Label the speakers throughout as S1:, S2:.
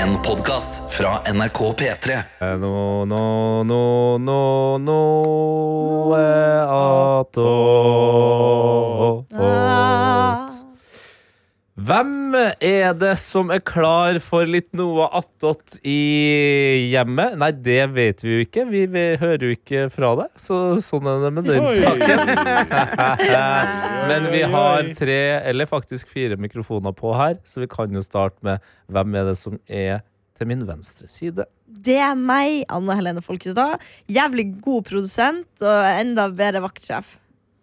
S1: En podcast fra NRK P3
S2: No, no, no, no, no eh, attåt. Hvem er det som er klar for litt noe attåt i hjemmet? Nei, det vet vi jo ikke. Vi, vi hører jo ikke fra deg, så sånn er det med den saken. Men vi har tre, eller faktisk fire mikrofoner på her, så vi kan jo starte med hvem er det som er til min venstre side.
S3: Det er meg, Anne Helene Folkestad. Jævlig god produsent og enda bedre vaktsjef.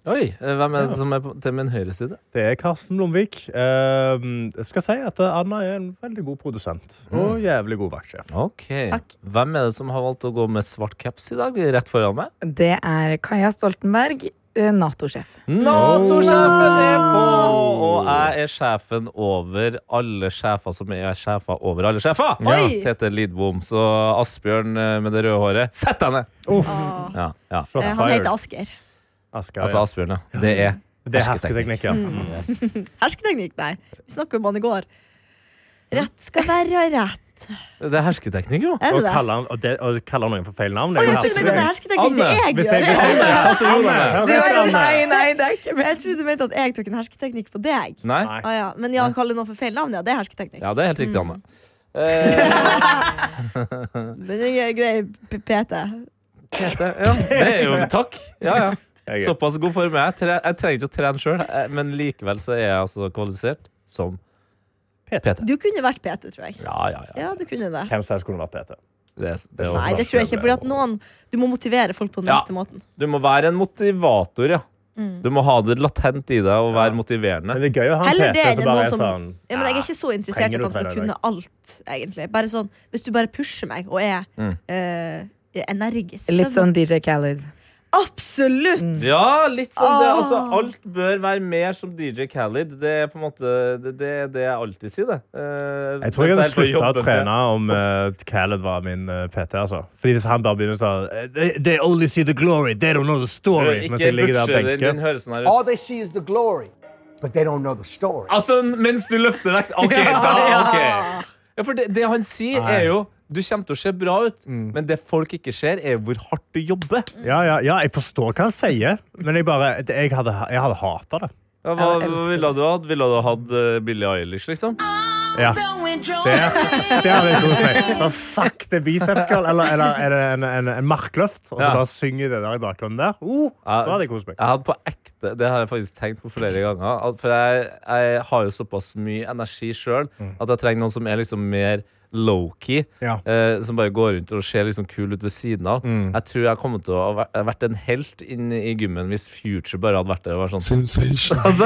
S2: Oi, eh, hvem er det som er på, til min høyre side?
S4: Det er Karsten Blomvik. Eh, Jeg skal si at Anna er en veldig god produsent og jævlig god vaktsjef.
S2: Ok. Hvem er det som har valgt å gå med svart caps i dag, rett foran meg?
S5: Det er Kaja Stoltenberg, eh, Nato-sjef.
S2: Nato-sjefen er på! Og jeg er sjefen over alle sjefer som er sjefer over alle sjefer.
S3: Oi!
S2: Tete Lidbom. Så Asbjørn eh, med det røde håret, sett deg ned!
S4: Uff,
S2: Ja, ja.
S4: shots
S3: Eh, Han
S4: fired.
S3: heter Asker.
S4: Asker,
S2: Altså
S4: ja.
S2: Asbjørn, ja. Det er
S4: Det er hersketeknikk,
S3: Mm.
S4: ja. Mm.
S2: Yes.
S3: Hersketeknikk, nei. Vi snakket om han i går. Rett skal være rett.
S2: Det er hersketeknikk, jo.
S3: Er
S4: Å
S3: det det?
S4: kalle, og det, å kalle noen for feil navn
S3: Å,
S4: er jo
S3: jeg trodde du mente
S4: hersketeknikk.
S3: hersketeknikk. Det
S2: Anne,
S3: er jeg
S4: Hvis jeg- hvis
S3: gjør.
S4: jeg- altså, jo, Anne,
S3: Du
S4: rett,
S3: er-
S4: Anne.
S3: nei,
S5: nei, det er ikke
S3: Jeg trodde du mente at jeg tok en hersketeknikk på deg.
S2: Nei?
S4: Nei.
S3: Ah, ja. Men ja, å kalle noen for feil navn, ja, det er hersketeknikk.
S2: Ja, det er helt riktig, Anne. Eh,
S3: Men jeg er grei p- PT.
S2: Tete, ja. Det er jo Takk. Ja, ja.
S4: Jeg er-
S2: Såpass god form er jeg. Tre- Jeg trenger ikke å trene sjøl, men likevel så er jeg altså kvalifisert som PT.
S3: Du kunne vært PT, tror jeg.
S2: Ja, ja, ja.
S3: Ja, du kunne det.
S4: Hvem som helst kunne vært PT.
S2: Det, er- det er
S3: Nei, det tror jeg ikke. Fordi at noen, du må motivere folk på den
S2: Ja.
S3: rette måten.
S2: Du må være en motivator, ja.
S3: Mm.
S2: Du må ha det latent i deg og være motiverende.
S4: Men det er gøy å ha en
S3: Heller det
S4: PT
S3: enn
S4: som bare
S3: noen
S4: er
S3: som
S4: sånn
S3: ja, men Jeg er ikke så interessert i
S4: trenger
S3: at
S4: du
S3: han skal
S4: trene i
S3: kunne alt, egentlig. Bare sånn, Hvis du bare pusher meg og er eh, energisk.
S5: Litt
S3: så-
S5: sånn DJ Khaled.
S3: Absolutt!
S2: Ja, litt sånn det.
S3: Åh.
S2: Altså, alt bør være mer som DJ Khalid. Det er på en måte det, det, er det jeg alltid sier, det. Eh,
S4: Jeg tror jeg hadde
S2: mens er på
S4: slutta å
S2: jobb.
S4: trene om uh, Khaled var min eh, PT. altså. Fordi hvis han bare begynner sånn eh, they, they only see the glory, they don't know the
S2: Du,
S4: story. Mens
S2: Ikke
S4: jeg ligger der
S2: butche
S4: og
S2: den. Den
S4: benker.
S2: høres sånn her ut.
S6: All they see is the glory, but they don't know the story.
S2: Altså, mens du løfter vekt Ok, da, ok ja, For det, det han sier er jo Du kommer til å se bra ut
S5: Mm.
S2: Men det folk ikke ser er hvor hardt du jobber
S4: Ja, ja, ja, jeg forstår hva han sier, men jeg, bare, jeg hadde, jeg hadde hata det.
S2: ja, Hva, hva
S5: Jeg elsker
S2: ville du hatt? Ville du hatt eh, Billie Eilish, liksom?
S4: Ja. Det, det hadde jeg kost meg. Så sakte bicepskull, eller, eller er det en, en, en markløft, og så
S2: Ja.
S4: bare synger det der i bakgrunnen der. Uh, da hadde jeg kost meg.
S2: Jeg hadde på ekte Det har jeg faktisk tenkt på flere ganger at- For jeg, jeg har jo såpass mye energi selv At jeg trenger noen som er liksom mer low-key
S4: Ja.
S2: eh, Som bare går rundt og ser liksom kul ut ved siden av Jeg tror jeg kommer til å ha væ- vært en helt Inne i gymmen hvis Future bare hadde vært der Og var sånn Altså,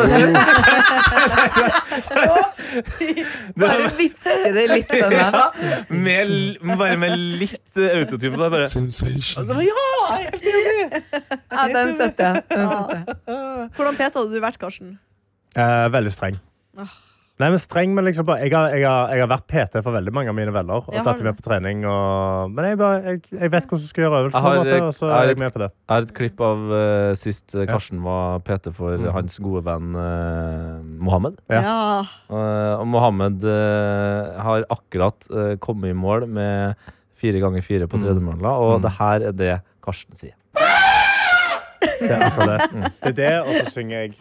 S5: Bare hviske det litt sånn. da.
S2: Ja, med, l- bare med litt eh, autotune på deg. Bare. Altså, ja, jeg er helt enig!
S5: Ja, den støtter Mm, jeg. Den støtter jeg.
S3: Hvordan PT hadde du vært, Karsten?
S4: Eh, veldig streng. Nei, men streng, men liksom bare, jeg, har, jeg, har, jeg har vært PT for veldig mange av mine venner. Og
S3: Ja, har
S4: tatt
S3: du
S4: dem med på trening og, Men jeg, bare, jeg, jeg vet hvordan du skal gjøre øvelsen.
S2: Jeg har-
S4: på en måte, Og så
S2: jeg har
S4: er
S2: et-
S4: jeg med på det.
S2: Jeg har et klipp av eh, sist eh, Karsten var PT for hans gode venn eh, Mohammed.
S4: Ja.
S3: Ja.
S2: Eh, og Mohammed eh, har akkurat eh, kommet i mål med fire ganger fire
S4: Mm.
S2: på tredemølla, og det her er det Karsten sier.
S4: Det er akkurat det. Det er det, og så synger jeg.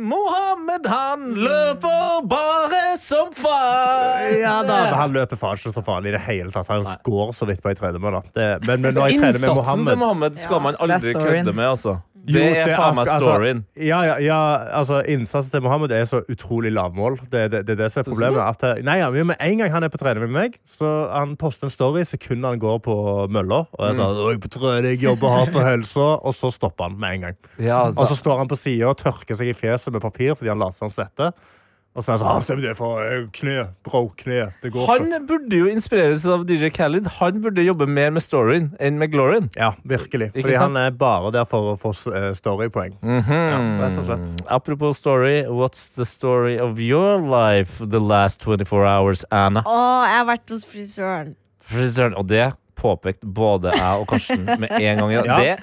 S2: Mohammed, han løper bare som far!
S4: Ja da, men Han løper faen ikke så farlig i det hele tatt. Han går så vidt på ei tredemølle. Det- Men, men når jeg trener
S2: Innsatsen
S4: med
S2: til
S4: Mohammed
S2: Mohammed skal man aldri
S5: det er storyen.
S2: kødde med, altså.
S4: Jo,
S2: Det er faen meg
S4: ak- altså,
S2: storyen.
S4: ja, ja, ja, altså Innsatsen til Mohammed er så utrolig lavmål. Det er det, det, er det som er problemet. At, eh, nei, ja, men En gang han er på trening med meg, så han poster en story sekundet han går på mølla. Og jeg
S2: Mm.
S4: sa, «Å, jeg er på trening, jobber hardt for helsa, og så stopper han med en gang.
S2: Ja, altså.
S4: Og så står han på sida og tørker seg i fjeset med papir fordi han later som han svetter. Og så er han sånn «Ah, det er det for eh, kne, bro, kne. Det går ikke.
S2: Han burde jo inspireres av DJ Khalid. Han burde jobbe mer med storyen enn med gloryen.
S4: Ja, virkelig.
S2: Ikke
S4: Fordi
S2: sant?
S4: han er bare der for å få s- eh, storypoeng. ja, rett og slett.
S2: Mm-hmm. Apropos story, what's the story of your life the last 24 hours, Anna?
S3: Å, jeg har vært hos frisøren.
S2: Frisøren. Og det påpekte både jeg og Karsten med en gang.
S4: Ja.
S2: Det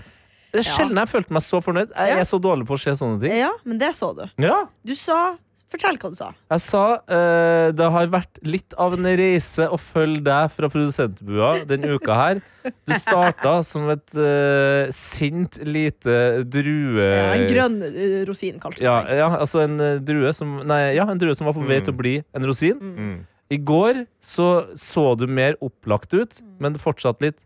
S2: Det er sjelden jeg følte meg så fornøyd. Jeg
S3: Ja.
S2: er så dårlig på å se sånne ting.
S3: Ja, men det så du.
S2: Ja.
S3: Du sa Fortell hva du sa.
S2: Jeg sa eh, det har vært litt av en reise å følge deg fra produsentbua denne uka her. Du starta som et eh, sint lite drue...
S3: Ja, en grønn eh, rosin, kalte du
S2: Ja,
S3: meg.
S2: ja, altså en eh, drue som Nei, ja, en drue som var på vei til å bli en rosin.
S4: Mm.
S2: I går så så du mer opplagt ut,
S3: Mm.
S2: men fortsatt litt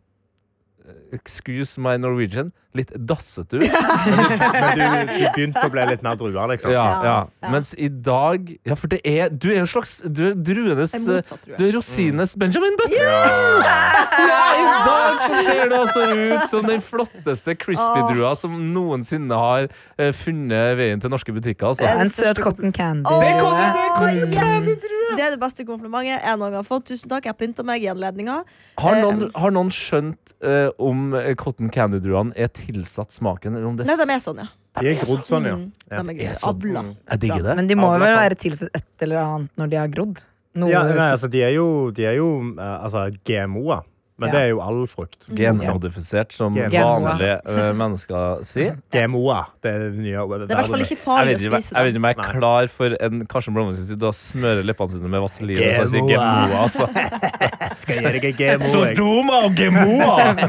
S2: eh, Excuse my Norwegian. Litt dassete ut.
S4: Men du, du begynte å bli litt mer drue, liksom.
S2: Ja, ja.
S3: ja.
S2: Mens i dag Ja, for det er Du er jo en slags Du er druenes
S3: Det er
S2: eh,
S3: motsatt, tror jeg.
S2: du er rosinenes Benjamin Button! Ja, I dag så ser du altså ut som den flotteste crispy-drua som noensinne har eh, funnet veien til norske butikker.
S5: Det er
S2: Altså.
S5: en søt cotton candy.
S3: Åh,
S2: Det kan- det kan-
S3: yes! Det er det beste komplimentet jeg noen gang har fått. Tusen takk, jeg pynta meg i anledninga.
S2: Har, noen,
S3: Ehm.
S2: har noen skjønt eh, om eh, cotton candy-druene er tilsatt smaken? Eller om det
S3: Nei, de er sånn, ja.
S4: De er grodd sånn, ja.
S3: Mm,
S4: ja.
S3: de er
S2: er
S3: gøy.
S2: sånn.
S3: Avla.
S2: Jeg digger det.
S5: Men de må
S4: Avla
S5: vel
S4: kan-
S5: være tilsatt et eller annet når de har grodd. Noe
S4: ja nei,
S5: som-
S4: altså, de er jo, de er jo eh, altså, GMO-er. Men
S5: Ja.
S4: det er jo all frukt.
S2: Genmodifisert, som
S4: Gen-
S2: vanlige eh, mennesker sier.
S3: Mm.
S4: GMO-er. Det er det nye
S3: Det er i hvert fall ikke
S2: Jeg
S3: farlig
S2: vet,
S3: å
S2: ikke, om jeg-
S3: spise
S2: jeg vet
S3: det.
S2: ikke om jeg er
S4: Nei.
S2: klar for en Karsten Blomvik sin å smøre leppene sine med vaseline. Så jeg sier
S4: Gemoa.
S2: gemoa, altså.
S4: Skal jeg gjøre ikke GMO, jeg.
S2: Sodoma og gemoa!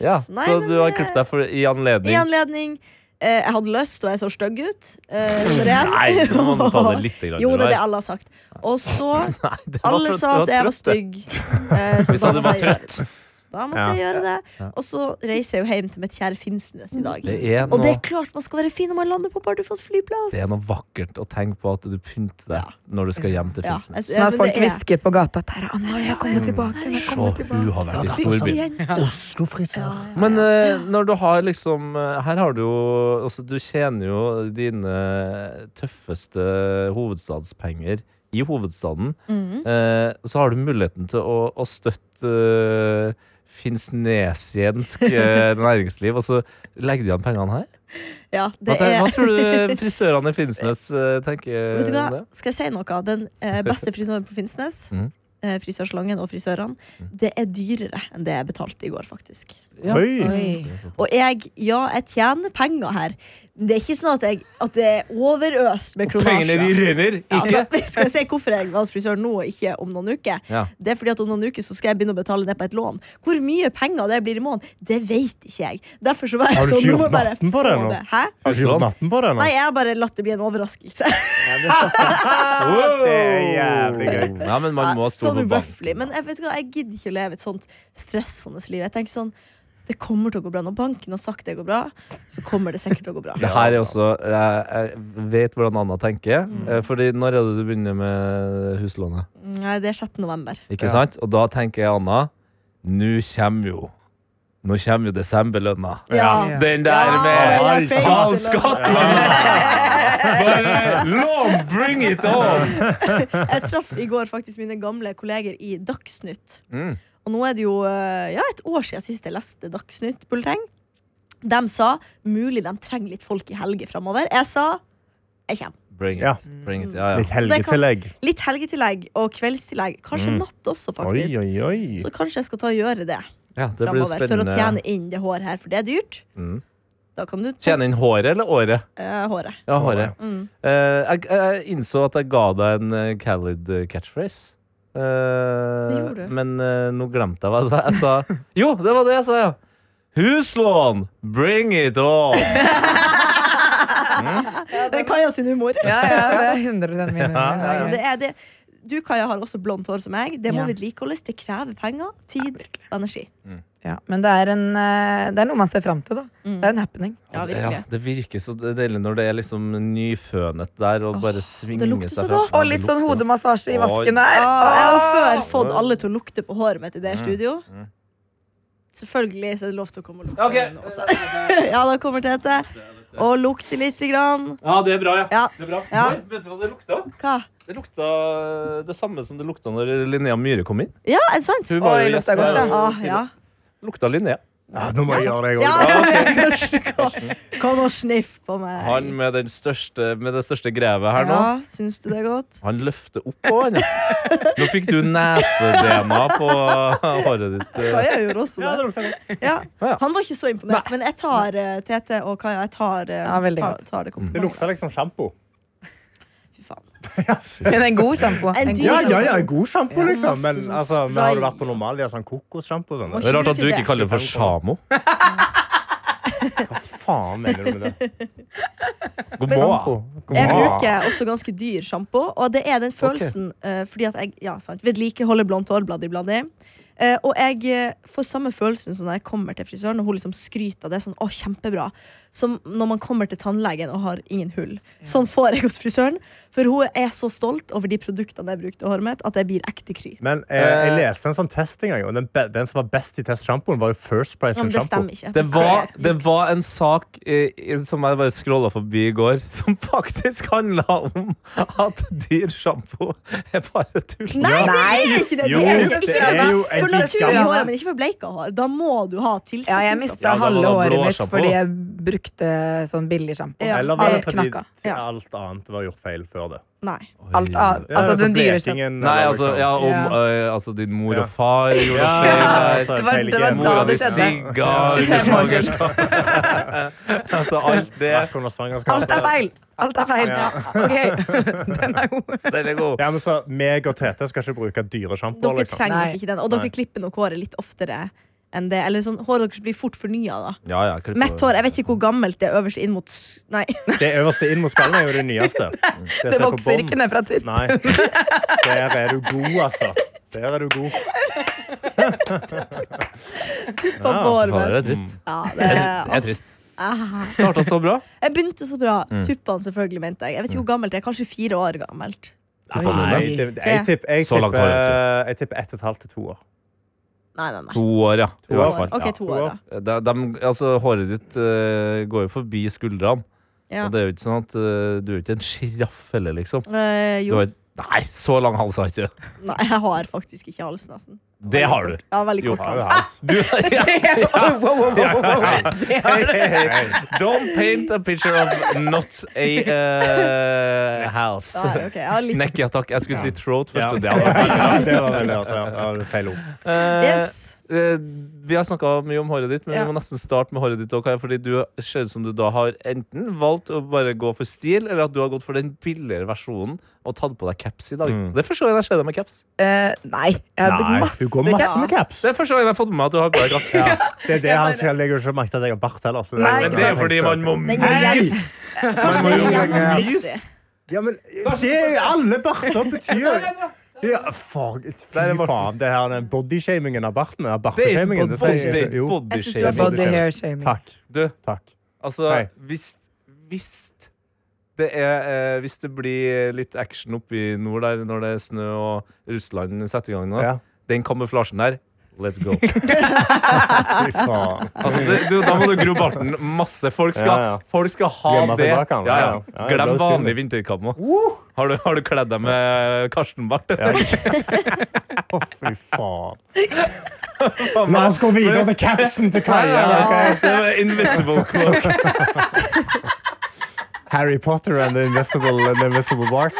S2: Ja,
S3: Nei,
S2: så
S3: men,
S2: du har
S3: eh,
S2: klippet deg for, i anledning
S3: I anledning eh, Jeg hadde lyst, og jeg så stygg ut. Eh, nummer én.
S2: Nei, nå må du ta det litt grann
S3: Jo, det er det
S2: der.
S3: alle har sagt. Og så
S2: Nei, det var
S3: Alle
S2: for
S3: sa
S2: du
S3: at jeg var
S2: trøtt, du.
S3: stygg. eh,
S2: Vi sa
S3: da
S2: du var
S3: måtte jeg
S2: trøtt.
S3: gjøre det. Så da måtte jeg gjøre det. Og så reiser jeg jo hjem til mitt kjære Finnsnes i dag.
S2: Det er
S3: Og det
S2: noe,
S3: er klart man skal være fin når man lander på Bardufoss flyplass.
S2: det er noe vakkert å tenke på at du pynter deg når du skal hjem til
S3: Ja,
S2: Finnsnes.
S3: jeg-
S5: Sånn
S3: ja,
S5: at
S3: men
S5: folk
S3: det er-
S5: hvisker på gata at her er Anna, hun har kommet tilbake. Hun har
S2: Se,
S5: kommet tilbake.
S2: hun har vært i
S3: altså,
S2: storbyen.
S3: Storbyen.
S4: Oslo-frisør.
S2: Men eh, når du har liksom eh, Her har du jo altså, Du tjener jo dine tøffeste hovedstadspenger i hovedstaden.
S3: Mhm.
S2: Eh, så har du muligheten til å, å støtte eh, finnsnesiensk eh, næringsliv, og så legger du igjen pengene her?
S3: Ja,
S2: Hva,
S3: det
S2: te- hva
S3: er
S2: tror du frisørene i Finnsnes eh, tenker
S3: Vet du
S2: om det?
S3: hva, skal jeg si noe? Den eh, beste frisøren på Finnsnes,
S2: Mhm.
S3: eh, frisørsalongen og frisørene, det er dyrere enn det jeg betalte i går, faktisk.
S2: Ja.
S4: Oi!
S5: Oi.
S3: Og jeg, ja, jeg tjener penger her. Det er ikke sånn at, jeg, at det er overøst med
S2: Pengene de
S3: kronasjer.
S2: renner!
S3: Ja,
S2: Ikke?
S3: altså, skal jeg si hvorfor jeg var hos frisøren nå og ikke om noen uker?
S2: Ja.
S3: Det er fordi at om noen uker så skal jeg begynne å betale ned på et lån. Hvor mye penger det blir i måneden, det vet ikke jeg. Derfor så var jeg
S4: Har du
S3: sånn,
S4: ikke
S3: nå må
S4: gjort
S3: jeg bare
S4: natten på det
S3: få
S4: nå?
S3: Hæ?
S4: Har du ikke gjort natten på det nå?
S3: Nei, jeg har bare latt det bli en overraskelse.
S2: Wow!
S4: Det er jævlig gøy.
S2: Ja, men man må stole
S3: sånn
S2: på
S3: roughly.
S2: banken.
S3: Men jeg vet ikke, hva, jeg gidder ikke å leve et sånt stressende liv. Jeg tenker sånn, det kommer til å gå bra. Når banken har sagt det går bra, så kommer det sikkert til å gå bra.
S2: Det her er også Jeg, jeg vet hvordan Anna tenker. eh, Fordi når er det du begynner med huslånet?
S3: Mm, Nei, det er 6. november.
S2: Ikke sant? Og da tenker jeg Anna Nå kommer jo Nå kommer jo desemberlønna.
S5: Ja.
S2: Den der med
S3: Ja, det er
S2: Skal
S3: feil.
S2: Skottland! Bare long, bring it on!
S3: Jeg traff i går faktisk mine gamle kolleger i Dagsnytt.
S2: Mm.
S3: Og nå er det jo eh, ja, et år siden sist jeg leste Dagsnytt-bulleteng. De sa mulig de trenger litt folk i helger framover. Jeg sa jeg kommer.
S2: Bring
S4: Ja. Mm.
S2: it. Bring it. Ja, ja.
S4: Litt helgetillegg.
S3: Litt helgetillegg og kveldstillegg. Kanskje
S2: Mm.
S3: natt også,
S4: Oi,
S3: faktisk.
S4: oi, oi.
S3: Så kanskje jeg skal ta og gjøre det
S2: ja det blir
S3: framover for å tjene
S2: spennende.
S3: inn det håret her, for det er dyrt.
S2: Mm.
S3: Da kan du ta
S2: Tjene inn håret eller året?
S3: eh, håret.
S2: Ja, håret.
S3: Mm.
S2: Eh, jeg, jeg innså at jeg ga deg en eh, Khalid eh, catchphrase. Eh,
S3: gjorde du.
S2: men eh, nå glemte jeg hva jeg sa. Jeg sa jo, det var det jeg sa, ja! Huslån, bring it on!
S3: Det er Kaja sin humor.
S5: Ja, ja, det er 100 min.
S3: Ja, det er det. Du, Kaja, har også blondt hår som jeg. Det må
S5: Ja.
S3: vedlikeholdes. Det krever penger, tid og energi.
S5: Ja, men det er, en, eh, det er noe man ser fram til, da. Det er en happening.
S3: Ja,
S2: det, ja,
S3: virkelig.
S2: det virker så deilig når det er liksom nyfønet der og bare svinger
S3: lukter så
S2: seg
S3: godt.
S2: Ja,
S5: Og
S2: det
S5: litt sånn
S2: lukter-
S5: hodemassasje i vasken
S3: Ja,
S5: der.
S3: Jeg har
S5: Åh!
S3: før fått alle til å lukte på håret mitt i det
S2: Mm,
S3: studio. Selvfølgelig så er det lov til å komme og lukte den også. ja, da kommer Tete og lukter lite grann.
S2: Ja, det er bra, ja.
S3: Ja.
S2: Det er bra.
S3: Ja.
S2: Oi, Vet du hva det lukta?
S3: Hva?
S2: Det lukta det samme som det lukta når Linnea Myhre kom inn.
S3: Ja, er det sant?
S2: Hun var
S5: Oi,
S2: jo
S5: lukta
S2: gjest der.
S5: godt, da.
S2: og-
S3: Ah, ja.
S2: Lukta Linnea.
S4: Ja, nå må jeg gjøre det, jeg
S3: Ja,
S4: òg.
S3: kom, kom og sniff på meg.
S2: Han med, den største, med det største grevet her nå.
S3: Ja, syns du det er godt?
S2: Han løfter opp på han. Nå fikk du nesedema på håret ditt.
S3: Ja, jeg gjorde også det. Ja.
S2: Ja.
S3: Han var ikke så imponert, men jeg tar eh, TT og Kaja. Jeg tar, eh,
S5: Ja, veldig
S3: tar,
S5: godt.
S3: tar
S2: Mm.
S3: det
S4: Det
S3: komplimentet.
S4: lukter liksom sjampo.
S3: Fy faen.
S5: Men en god sjampo.
S3: En
S5: En
S3: dyr
S5: god
S4: Ja, ja,
S5: sjampo.
S4: ja, god sjampo, liksom. Men
S3: Masse sånn
S4: altså, men har du
S3: spray.
S4: vært på Normalia, sånn kokossjampo og sånn?
S2: Det er rart at du ikke kaller det for sjamo.
S4: Hva faen mener du med det?
S2: God morgen.
S4: God
S3: Jeg
S4: morgen.
S3: bruker også ganske dyr sjampo, og det er den følelsen eh, fordi at jeg ja, sant, vedlikeholder blondt hår. Bladi, bladi. Eh, og jeg eh, får samme følelsen som når jeg kommer til frisøren og hun liksom skryter av det. Sånn, å, kjempebra Som når man kommer til tannlegen og har ingen hull. Sånn får jeg hos frisøren. For hun er så stolt over de produktene jeg brukte i håret mitt, at jeg blir ekte kry.
S4: Men eh, jeg leste en sån test en gang, og den, be- den som var best i testsjampoen, var jo First Price
S3: Ja, men
S4: sin
S3: det
S4: sjampo.
S3: stemmer ikke.
S2: Det var,
S3: stemmer.
S2: det var en sak eh, som jeg bare scrolla forbi i går, som faktisk handla om at dyr sjampo er bare tull.
S3: Nei, det er ikke det!
S4: Jo,
S3: det, er,
S4: det
S3: ikke for,
S4: er jo
S3: meg. for
S4: en
S3: naturlig
S5: gammel-
S3: hår, men ikke for bleika hår. Da må du ha
S5: Ja, jeg
S3: tilsetningsstoff.
S2: Ja, da
S5: mista
S2: var det
S5: halve
S2: blå
S5: håret mitt
S2: sjampo.
S5: fordi jeg brukte sånn billig sjampo.
S3: Ja.
S4: Eller var det
S5: Alt
S4: fordi
S5: knakka.
S3: Ja.
S4: alt annet var gjort feil før det?
S3: Nei.
S5: Alt av, altså den dyre sjampoen.
S2: Nei, altså, ja, om, eh, altså din mor og far gjorde
S4: liksom- Ja,
S2: feil der.
S4: altså,
S5: Det var-
S4: feil
S5: det var
S4: igjen.
S5: da
S2: Mora di
S5: det skjedde.
S2: sigga
S5: 25 år siden.
S2: Altså alt det.
S4: Knakk under svangerskapet.
S5: Alt er feil! Alt er feil.
S4: Ja.
S5: Ok, den er god.
S2: Den er god.
S4: Ja, men så meg og Tete skal ikke bruke dyresjampo.
S3: Dere
S4: Liksom.
S3: trenger nok
S5: Nei.
S3: ikke den, og dere klipper nok håret litt oftere. enn det Eller sånn, Håret deres blir fort fornya. da.
S2: Ja, ja, klipp
S3: Mett
S2: over.
S3: hår. Jeg vet ikke hvor gammelt det er øverst inn mot s- Nei.
S4: Det øverste inn mot skallen er jo det nyeste. Det,
S5: Det
S4: ser på
S5: vokser
S4: bånd.
S5: ikke ned fra tuppen.
S4: Nei. Der er du god, altså. Der er du god.
S3: På håret
S2: Fader, det er
S3: mitt.
S2: trist.
S3: Ja, det
S2: Det er
S3: er,
S2: trist.
S3: Ah.
S2: Starta så bra.
S3: jeg begynte så bra.
S2: Mm.
S3: Tuppene, selvfølgelig, mente jeg. Jeg vet ikke hvor gammelt det er. Kanskje fire år gammelt.
S4: Nei, det, jeg tipper jeg
S2: Så langt
S4: tipper-
S2: har jeg
S4: jeg tipper ett og et halvt til to år.
S3: Nei, nei, nei.
S2: To år, ja. I
S4: To år.
S2: hvert fall.
S3: Ok, to
S4: Ja, to
S3: år,
S4: år.
S3: da.
S2: De, de, altså, håret ditt eh, går jo forbi skuldrene.
S3: Ja.
S2: Og det er jo ikke sånn at eh, du er jo ikke en sjiraff heller, liksom.
S3: Eh,
S2: Du
S3: jo.
S2: har, nei, så lang hals har ikke du.
S3: Nei, jeg har faktisk ikke hals, nesten.
S2: Det har du.
S3: Ja, veldig
S2: Jo.
S3: kort
S4: Ja, det
S3: hals.
S4: er hans.
S2: du ja.
S5: Wow, wow, wow, wow, wow. Det har
S2: Hey, hey, hey. Don't paint a picture of not a eh, house.
S3: Nei, Ah, ok, jeg har litt
S2: Neck, ja takk. Jeg skulle si throat
S4: Ja.
S2: først. og Det hadde vært
S4: Ja, det var veldig altså, ja, det var feil ord.
S2: Eh,
S3: Yes.
S2: eh, vi har snakka mye om håret ditt, men
S3: Ja.
S2: vi må nesten starte med håret ditt. Også, fordi du ser ut som du da har enten valgt å bare gå for stil, eller at du har gått for den billigere versjonen og tatt på deg caps i dag.
S4: Mm.
S2: Det er første gang jeg ser deg med caps.
S5: Eh, nei, jeg har brukt
S4: Nei,
S5: masse
S4: du går masse med
S5: caps.
S4: caps.
S2: Det er første gang jeg har fått med meg at du har på deg caps.
S4: Ja, det er det han skal legge ikke merke til at jeg har bart heller. så det er
S5: Nei,
S4: jo-
S2: Men det er fordi man må
S3: Den er
S2: mys!
S3: Kanskje
S2: Man må
S3: den
S2: jo
S3: er gjennomsiktig.
S2: mys!
S4: Ja, men det er jo alle barter betyr ja, for, Fy
S2: er Morten.
S4: faen, det her den bodyshamingen av barten. ja,
S2: Det er ikke
S4: barteshamingen,
S2: bod-
S4: det sier
S2: det
S4: jeg
S2: er
S4: ikke.
S2: ikke
S4: Jo,
S3: Jeg synes du er
S2: bodyshaming.
S5: Body hair shaming.
S4: takk.
S2: Du,
S4: takk.
S2: altså,
S4: Hei.
S2: hvis Hvis det er eh, Hvis det blir litt action oppe i nord der når det er snø og Russland setter i gang nå,
S4: Ja.
S2: den kamuflasjen der Let's go.
S4: Fy faen.
S2: Altså, det, du, da må du gro barten masse. Folk skal,
S4: Ja, ja.
S2: Folk skal ha
S4: Gjemme
S2: det.
S4: seg bak han,
S2: Ja, ja.
S4: ja, ja. Ja, det
S2: Glem
S4: blir synlig.
S2: vanlig vinterkammo. Har, du- har du kledd deg med Karsten-bart?
S4: Ja. Å, fy faen. La oss gå videre til capsen til Kaja. ok?
S2: Det var invisible cloak.
S4: Harry Potter and the Invisible, and the invisible Bart.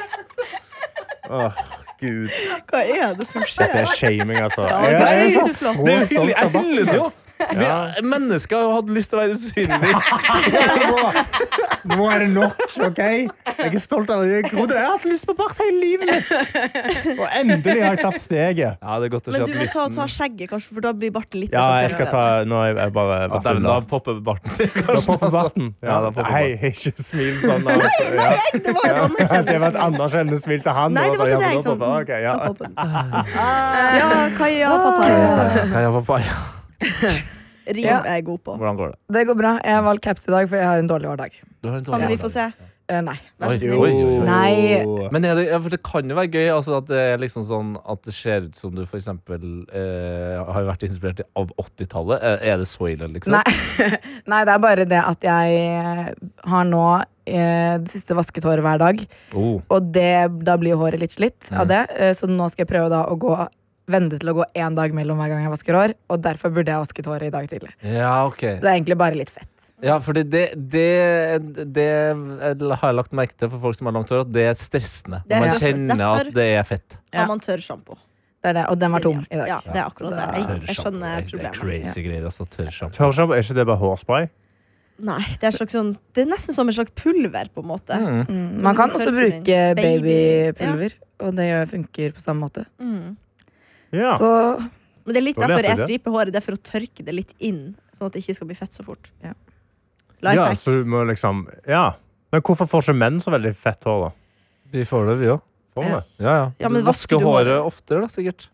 S4: Åh, Gud.
S3: Hva er det som
S4: Dette
S3: skjer?
S4: er shaming, altså.
S3: det er
S4: Jeg er
S3: sykt
S4: så
S3: flott.
S2: Det
S4: så
S2: er jo hyggelig.
S4: stolt av
S2: Jeg
S4: barten.
S2: hyller det jo. Vi,
S4: Ja.
S2: mennesker har jo hatt lyst til å være usynlige.
S4: nå, nå er det nok, OK? Jeg er stolt av det. Jeg grodde- jeg har hatt lyst på bart hele livet mitt. Og endelig har jeg tatt steget.
S2: Ja, det er godt å se
S3: Men
S2: at
S3: du må ta,
S2: lysten
S3: ta skjegget, kanskje, for da blir barten litt
S4: Ja,
S3: mer sånn-
S4: jeg skal ta Nå er jeg bare
S2: Ja, dæven, da popper barten til,
S4: Da
S2: kanskje.
S4: popper barten.
S2: altså. Ja, da
S4: Ja.
S2: popper
S4: Hei, ikke smil sånn. altså.
S3: Nei, jeg- det var et
S4: Det var et
S3: anerkjennelsesord.
S4: anerkjennende smil til han.
S3: Nei, det var
S4: Ja,
S3: til
S4: men
S3: deg.
S4: da
S3: Sånn.
S4: popper- ok, ja.
S3: Da popper den. Ja, Kaja, pappa.
S2: Kaja, papaya.
S3: Rim
S5: Ja.
S3: er jeg god på.
S2: Hvordan går det?
S5: Det går bra. Jeg har valgt caps i dag fordi jeg har en dårlig hårdag.
S2: Du har en
S3: Kan vi få se?
S5: Eh, nei.
S3: Vær så
S2: Oi,
S3: snill.
S2: oi, oi.
S5: Nei.
S2: Men er det, ja, for det kan jo være gøy altså, at, det er liksom sånn, at det ser ut som du for eksempel eh, har vært inspirert av 80-tallet. Eh, Er det så ille, liksom?
S5: Nei. nei, det er bare det at jeg eh, har nå eh, det siste vasket håret hver dag.
S2: Oh. Mm.
S5: Og det, da blir jo håret litt slitt av det, eh, så nå skal jeg prøve da å gå vente til å gå én dag mellom hver gang jeg vasker hår. Og derfor burde jeg vasket håret i dag tidlig.
S2: Ja, ok.
S5: Så det er egentlig bare litt fett.
S2: Ja, fordi det, det, det har jeg lagt merke til for folk som har langt hår, at det er stressende.
S3: Det er
S2: Man kjenner
S3: stressende.
S2: at
S3: Derfor-
S2: det er fett.
S3: Har man tørrsjampo?
S5: Det er det. Og den var tom i dag.
S3: Ja, det er akkurat det. Jeg, jeg skjønner
S2: Det er
S3: problemet.
S2: crazy greier, altså. Tørrsjampo.
S4: Tørrsjampo, er ikke det bare hårspray?
S3: Nei, det er, slags sånn, det er nesten som en slags pulver, på en måte.
S5: Mm, Man kan
S3: Som
S5: også
S3: tørker
S5: bruke
S3: inn. Baby-
S5: babypulver, og det gjør- funker på samme måte.
S4: Ja.
S5: Så
S3: Men det er litt
S4: Da lærte
S3: derfor jeg
S4: jeg det.
S3: striper håret. Det er for å tørke det litt inn, sånn at det ikke skal bli fett så fort.
S5: Ja.
S4: ja,
S3: Lifehack.
S4: så du må liksom Ja. Men hvorfor får ikke menn så veldig fett hår, da?
S2: Vi får det, vi òg.
S4: Får vi det?
S2: Ja, ja.
S3: Ja, men vasker du
S2: håret oftere, da, sikkert.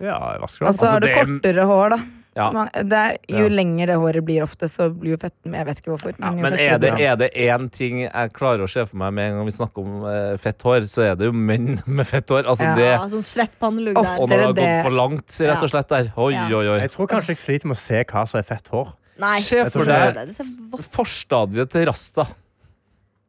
S4: Ja, jeg vasker
S5: og
S4: det.
S5: så har du kortere hår, da.
S2: Altså, Ja.
S5: Man, det er, jo
S2: Ja.
S5: lenger det håret blir ofte, så blir jo fetten Jeg vet ikke hvorfor.
S2: Ja,
S5: jo
S2: men
S5: fettere
S2: er det,
S5: blir
S2: er det én ting jeg klarer å se for meg med en gang vi snakker om eh, fett hår, så er det jo menn med fett hår. Altså
S5: Ja.
S2: det
S3: Ja, sånn svett pannelugg
S5: Ofte.
S2: Og når
S3: der.
S2: det har
S5: det-
S2: gått for langt, rett og slett, der. Oi,
S3: Ja.
S2: oi, oi.
S4: Jeg tror kanskje jeg sliter med å se hva som er fett hår.
S3: Nei,
S2: Se
S3: jeg
S2: for
S3: tror ikke
S2: deg-
S3: det. Det ser vått
S2: Forstadiet til rasta,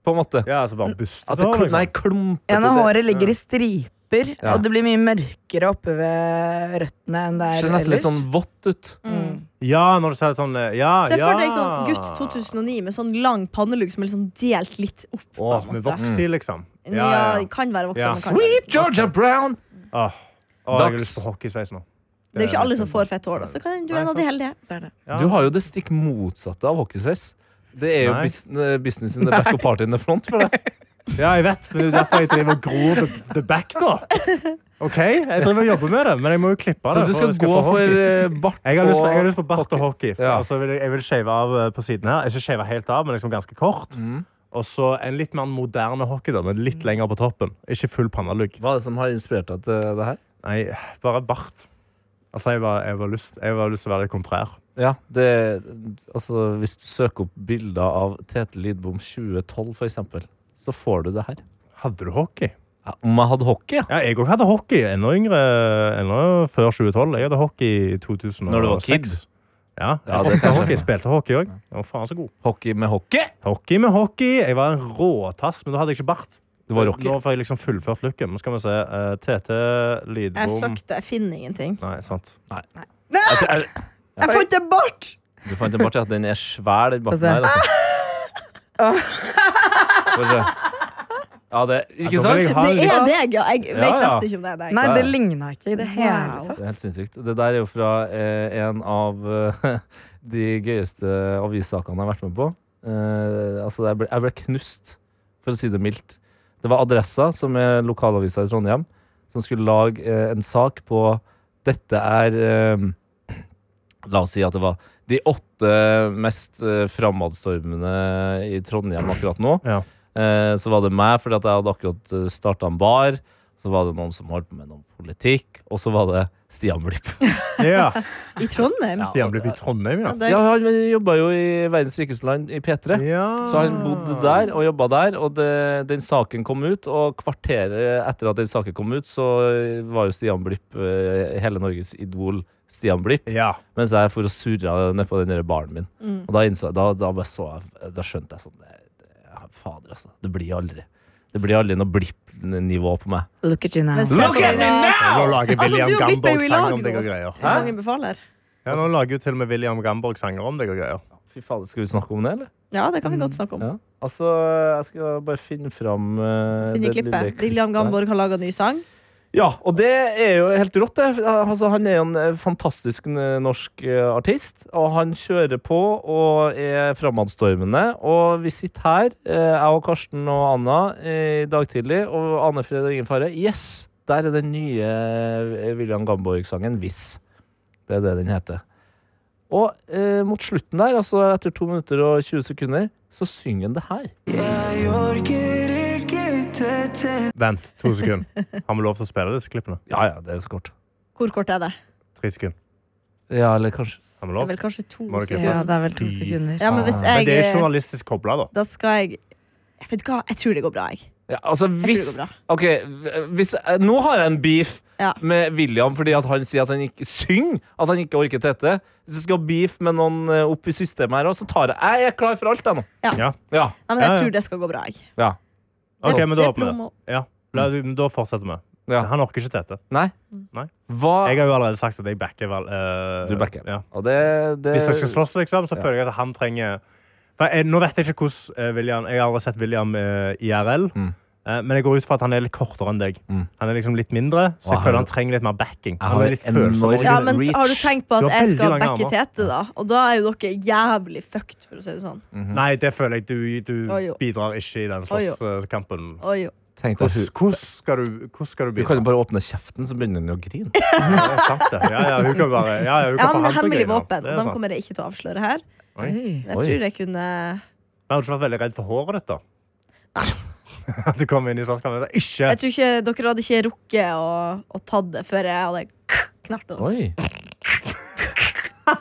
S2: på en måte.
S4: Ja, altså bare bustet
S2: At det,
S4: hår,
S2: kl- nei,
S4: liksom.
S2: klumpete
S5: Ja, når
S2: det-
S5: håret ligger i striper,
S2: Ja.
S5: og det blir mye mørkere oppe ved røttene enn det er
S2: Ser nesten litt
S5: ellers.
S2: sånn vått ut.
S5: mm.
S4: Ja, når du ser det sånn eh, Ja,
S3: Se
S4: ja.
S3: for deg sånn gutt 2009 med sånn lang pannelugg som er liksom delt litt opp. på
S4: Åh,
S3: en
S4: med
S3: måte.
S4: voks i,
S2: Mm.
S4: liksom.
S3: Ja, kan være voksen.
S4: Ja.
S3: men kan ikke.
S2: Sweet Georgia Brown!
S4: Åh, Åh, jeg har
S2: Dags.
S4: lyst på hockeysveis nå. Eh,
S3: Det er jo ikke alle som får fett hår, da, så kan du er en av de heldige.
S5: Det er det.
S4: Ja.
S2: Du har jo det stikk motsatte av hockeysveis. Det er jo
S4: Nei.
S2: bus eh, business in the back og party in the front for deg.
S4: Ja, jeg vet, men det er derfor jeg driver og gror the, the back, da. OK, jeg driver og jobber med det, men jeg må jo klippe
S2: Så
S4: det.
S2: du skal
S4: for jeg
S2: gå
S4: få
S2: for
S4: hockey.
S2: eh, bart
S4: jeg har, lyst på, jeg har
S2: og-
S4: lyst på bart og hockey.
S2: Ja.
S4: Og så vil jeg, jeg vil shave av eh, på siden her. Ikke shave helt av, men liksom ganske kort.
S2: Mm.
S4: Og så en litt mer moderne hockey, da, men litt lenger på toppen. Ikke full pannelugg.
S2: Hva er det som har inspirert deg til det her?
S4: Nei, bare bart. Altså, jeg var, jeg var, lyst, jeg var lyst til å være litt kontrær.
S2: Ja, det, altså, hvis du søker opp bilder av Tete Lidbom 2012, for eksempel, så får du det her.
S4: Hadde du hockey?
S2: Ja, om jeg hadde hockey, ja.
S4: Ja, jeg òg hadde hockey. Enda yngre. Enda før 2012. Jeg hadde hockey i 2006.
S2: Når du var kid?
S4: Ja, jeg
S2: Ja, det kan
S4: hoppa
S2: jeg
S4: hockey.
S2: skjønne.
S4: Jeg spilte hockey òg. Jeg var faen så god.
S2: Hockey med hockey!
S4: Hockey med hockey. Jeg var en råtass, men da hadde jeg ikke bart.
S2: Du var rocker.
S4: Nå får jeg liksom fullført looken. Nå skal vi se. eh, Tete
S3: Jeg
S4: Lidbom
S3: søkte, jeg finner ingenting.
S4: Nei, sant.
S2: Jeg, jeg,
S3: Jeg fant det bort!
S2: Du fant en bart, ja. Den er svær, den barten
S5: se.
S2: her. Altså. Få se. Ja, det
S4: Ja,
S2: Ikke
S4: da vil
S2: sant?
S4: jeg ha-
S3: Det er deg, ja. Jeg
S2: Ja,
S3: vet
S2: ja.
S3: nesten ikke om det er deg.
S5: Nei,
S2: Ja,
S5: det
S2: ja.
S5: ligna ikke i det hele
S3: Wow.
S5: tatt.
S2: Det er helt sinnssykt. Det der er jo fra eh, en av eh, de gøyeste avissakene jeg har vært med på. Eh, altså, jeg ble, jeg ble knust, for å si det mildt. Det var Adressa, som er lokalavisa i Trondheim, som skulle lage eh, en sak på Dette er eh, La oss si at det var de åtte mest eh, framadstormende i Trondheim akkurat nå.
S4: Ja.
S2: Eh, så var det meg, fordi at jeg hadde akkurat starta en bar. Så var det noen som holdt på med noe politikk, og så var det Stian Blipp.
S4: Ja.
S3: I Trondheim?
S4: De har blitt i Trondheim, ja.
S3: Ja, det
S2: Ja,
S3: er
S2: han jobba jo i verdens rikeste land, i P3.
S4: ja.
S2: Så han bodde der og jobba der, og det, den saken kom ut. Og kvarteret etter at den saken kom ut, så var jo Stian Blipp eh, hele Norges idol. Stian Blipp,
S4: Ja.
S2: mens jeg for å surra nedpå den der baren min. Og da, innså, jeg- da, da, bare så jeg, da skjønte jeg sånn det, det, Fader, altså. Det blir aldri Det blir aldri noe Blipp-nivå på meg.
S5: Look at you now.
S3: Men se på deg, da.
S4: Nå lager
S3: Altså,
S4: William
S3: du har blitt
S4: Gamborg
S3: med i
S4: sang
S3: lag
S4: om deg og
S3: nå.
S4: greier.
S3: Hvor mange befaler?
S4: Ja, nå lager jo til og med William Gamborg sanger om deg og greier.
S2: Fy fader, skal vi snakke om det, eller?
S3: Ja, det kan vi godt snakke om.
S2: Ja. Altså, jeg skal bare finne fram eh,
S3: Finne
S2: det lille
S3: klippet. William Gamborg har laga ny sang.
S2: Ja, og det er jo helt rått, det. Altså, han er jo en eh, fantastisk eh, norsk eh, artist. Og han kjører på og er framadstormende. Og vi sitter her, eh, jeg og Karsten og Anna, eh, i dag tidlig, og Ane Fred og Ingen Fare. Yes! Der er den nye eh, William Gamborg-sangen 'Hvis'. Det er det den heter. Og eh, mot slutten der, altså etter 2 minutter og 20 sekunder, så synger han det her.
S4: Vent, to sekunder. Har vi lov til å spille disse klippene?
S2: Ja, ja, det er så kort.
S3: Hvor kort er det?
S4: Tre sekunder.
S2: Ja, eller kanskje
S4: Har
S3: Det
S4: vi
S3: er
S4: lov?
S3: vel kanskje to
S4: Må dere
S5: Ja,
S3: sekunder.
S5: det er vel to sekunder.
S3: Ja, men hvis
S4: Men det er ikke
S3: jeg eh,
S4: journalistisk kobla, da.
S3: Da skal jeg Jeg vet hva, jeg tror det går bra, jeg.
S2: Ja, altså hvis,
S3: går
S2: Ok, hvis eh, Nå har jeg en beef
S3: Ja.
S2: med William fordi at han sier at han ikke synger. At han ikke orker tette. Hvis jeg skal ha beef med noen eh, opp i systemet her også, så tar jeg Jeg er klar for alt, jeg nå.
S4: Ja.
S2: Ja.
S3: Nei, men
S4: Ja,
S3: jeg
S4: ja.
S3: tror det skal gå bra, jeg.
S2: ja.
S4: Ok, men da
S3: Det er
S4: åpner vi.
S3: promo.
S4: Ja. La, du- men da fortsetter vi.
S2: Ja.
S4: Han orker ikke tete.
S2: Nei.
S4: Nei.
S2: Hva
S4: Jeg har jo allerede sagt at jeg backer vel eh,
S2: Du backer.
S4: Ja.
S2: Og det, det
S4: Hvis jeg skal slåss, liksom, så føler jeg at han trenger for jeg, Nå vet jeg ikke hvordan eh, William Jeg har aldri sett William eh, IRL. eh, Men jeg går ut fra at han er litt kortere enn deg. Han er liksom litt mindre, så
S2: Og
S4: jeg
S2: han-
S4: føler han trenger litt mer backing. Han
S2: har
S4: er litt
S2: enorm-
S4: følsom.
S3: Ja, men t- har du
S2: Reach.
S3: tenkt på
S4: Du
S3: at
S4: har
S3: jeg
S4: veldig
S3: skal
S4: lange
S3: backe
S4: armer.
S3: Tete, da? Og da er jo dere jævlig fucked, for å si det sånn.
S4: Nei, det føler jeg du,
S3: Å, jo.
S4: du bidrar ikke i den
S3: jo.
S4: slåsskampen.
S3: Oi, jo.
S2: tenkte jeg, hun,
S4: Hvordan hvordan skal du, hvordan skal du
S2: Du kan
S4: bidra?
S2: jo bare åpne kjeften, så begynner hun å grine.
S4: Ja, det er sant, det. Ja, ja, hun kan bare ja, ja,
S3: Ja, men
S4: hun kan
S3: det er
S4: forhandle
S3: hemmelig
S4: greier.
S3: våpen.
S4: Det er
S3: og Den
S4: sant.
S3: kommer jeg ikke til å avsløre her.
S4: Oi.
S3: Jeg
S2: Oi.
S3: tror jeg kunne
S4: Men Hadde du ikke vært veldig redd for håret ditt, da? At du kom inn i slåsskampen og sa
S3: Jeg
S4: 'ikke'.
S3: tror ikke dere hadde ikke rukket å, å tatt det før jeg hadde knert det.
S2: Oi.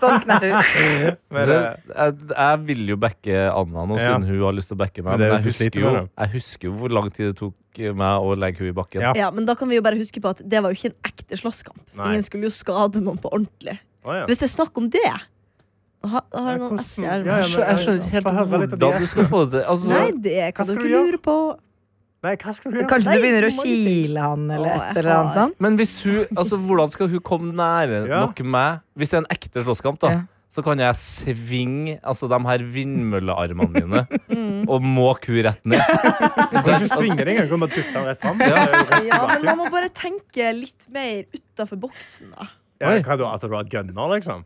S5: Sånn knerter du.
S4: Men,
S2: det,
S4: eh,
S2: jeg, jeg vil jo backe Anna nå,
S4: Ja.
S2: siden hun har lyst til å backe meg.
S4: Men det er
S2: Men
S4: jo
S2: jeg
S4: du
S2: husker,
S4: sliter
S2: jo,
S4: med det.
S2: jeg husker jo hvor lang tid det tok meg å legge henne i bakken.
S4: Ja.
S3: Ja, men da kan vi jo bare huske på at det var jo ikke en ekte slåsskamp.
S4: Nei.
S3: Ingen skulle jo skade noen på ordentlig.
S4: å, ja.
S3: Hvis det er snakk om det, da har da har jeg
S4: Ja,
S3: noen
S4: hvordan-
S3: ess i ermet.
S4: Ja, ja,
S2: Jeg skjø- jeg skjønner
S3: Sånn.
S2: ikke helt
S4: Få høre litt av de
S2: hvordan du skal få det til. Altså,
S3: Nei, det
S4: Hva
S3: kan
S4: skal
S3: dere
S4: du gjøre?
S3: lure på.
S4: Nei, hva skal du gjøre?
S5: Kanskje
S3: Nei,
S5: du begynner å
S3: må du
S5: kile han
S3: Å,
S5: eller
S3: jeg
S5: et eller annet
S3: har-
S5: sånt?
S2: Men hvis hun, altså, hvordan skal hun komme nære
S4: Ja.
S2: nok meg? Hvis det er en ekte slåsskamp, da,
S5: Ja.
S2: så kan jeg svinge altså, de her vindmøllearmene mine og måke hun rett ned.
S4: Du kan ikke svinge deg engang. Du kan bare dytte den rett fram. Ja,
S3: Ja, men man må bare tenke litt mer utafor boksen, da.
S2: Oi.
S4: hva da? At du har gunner, liksom?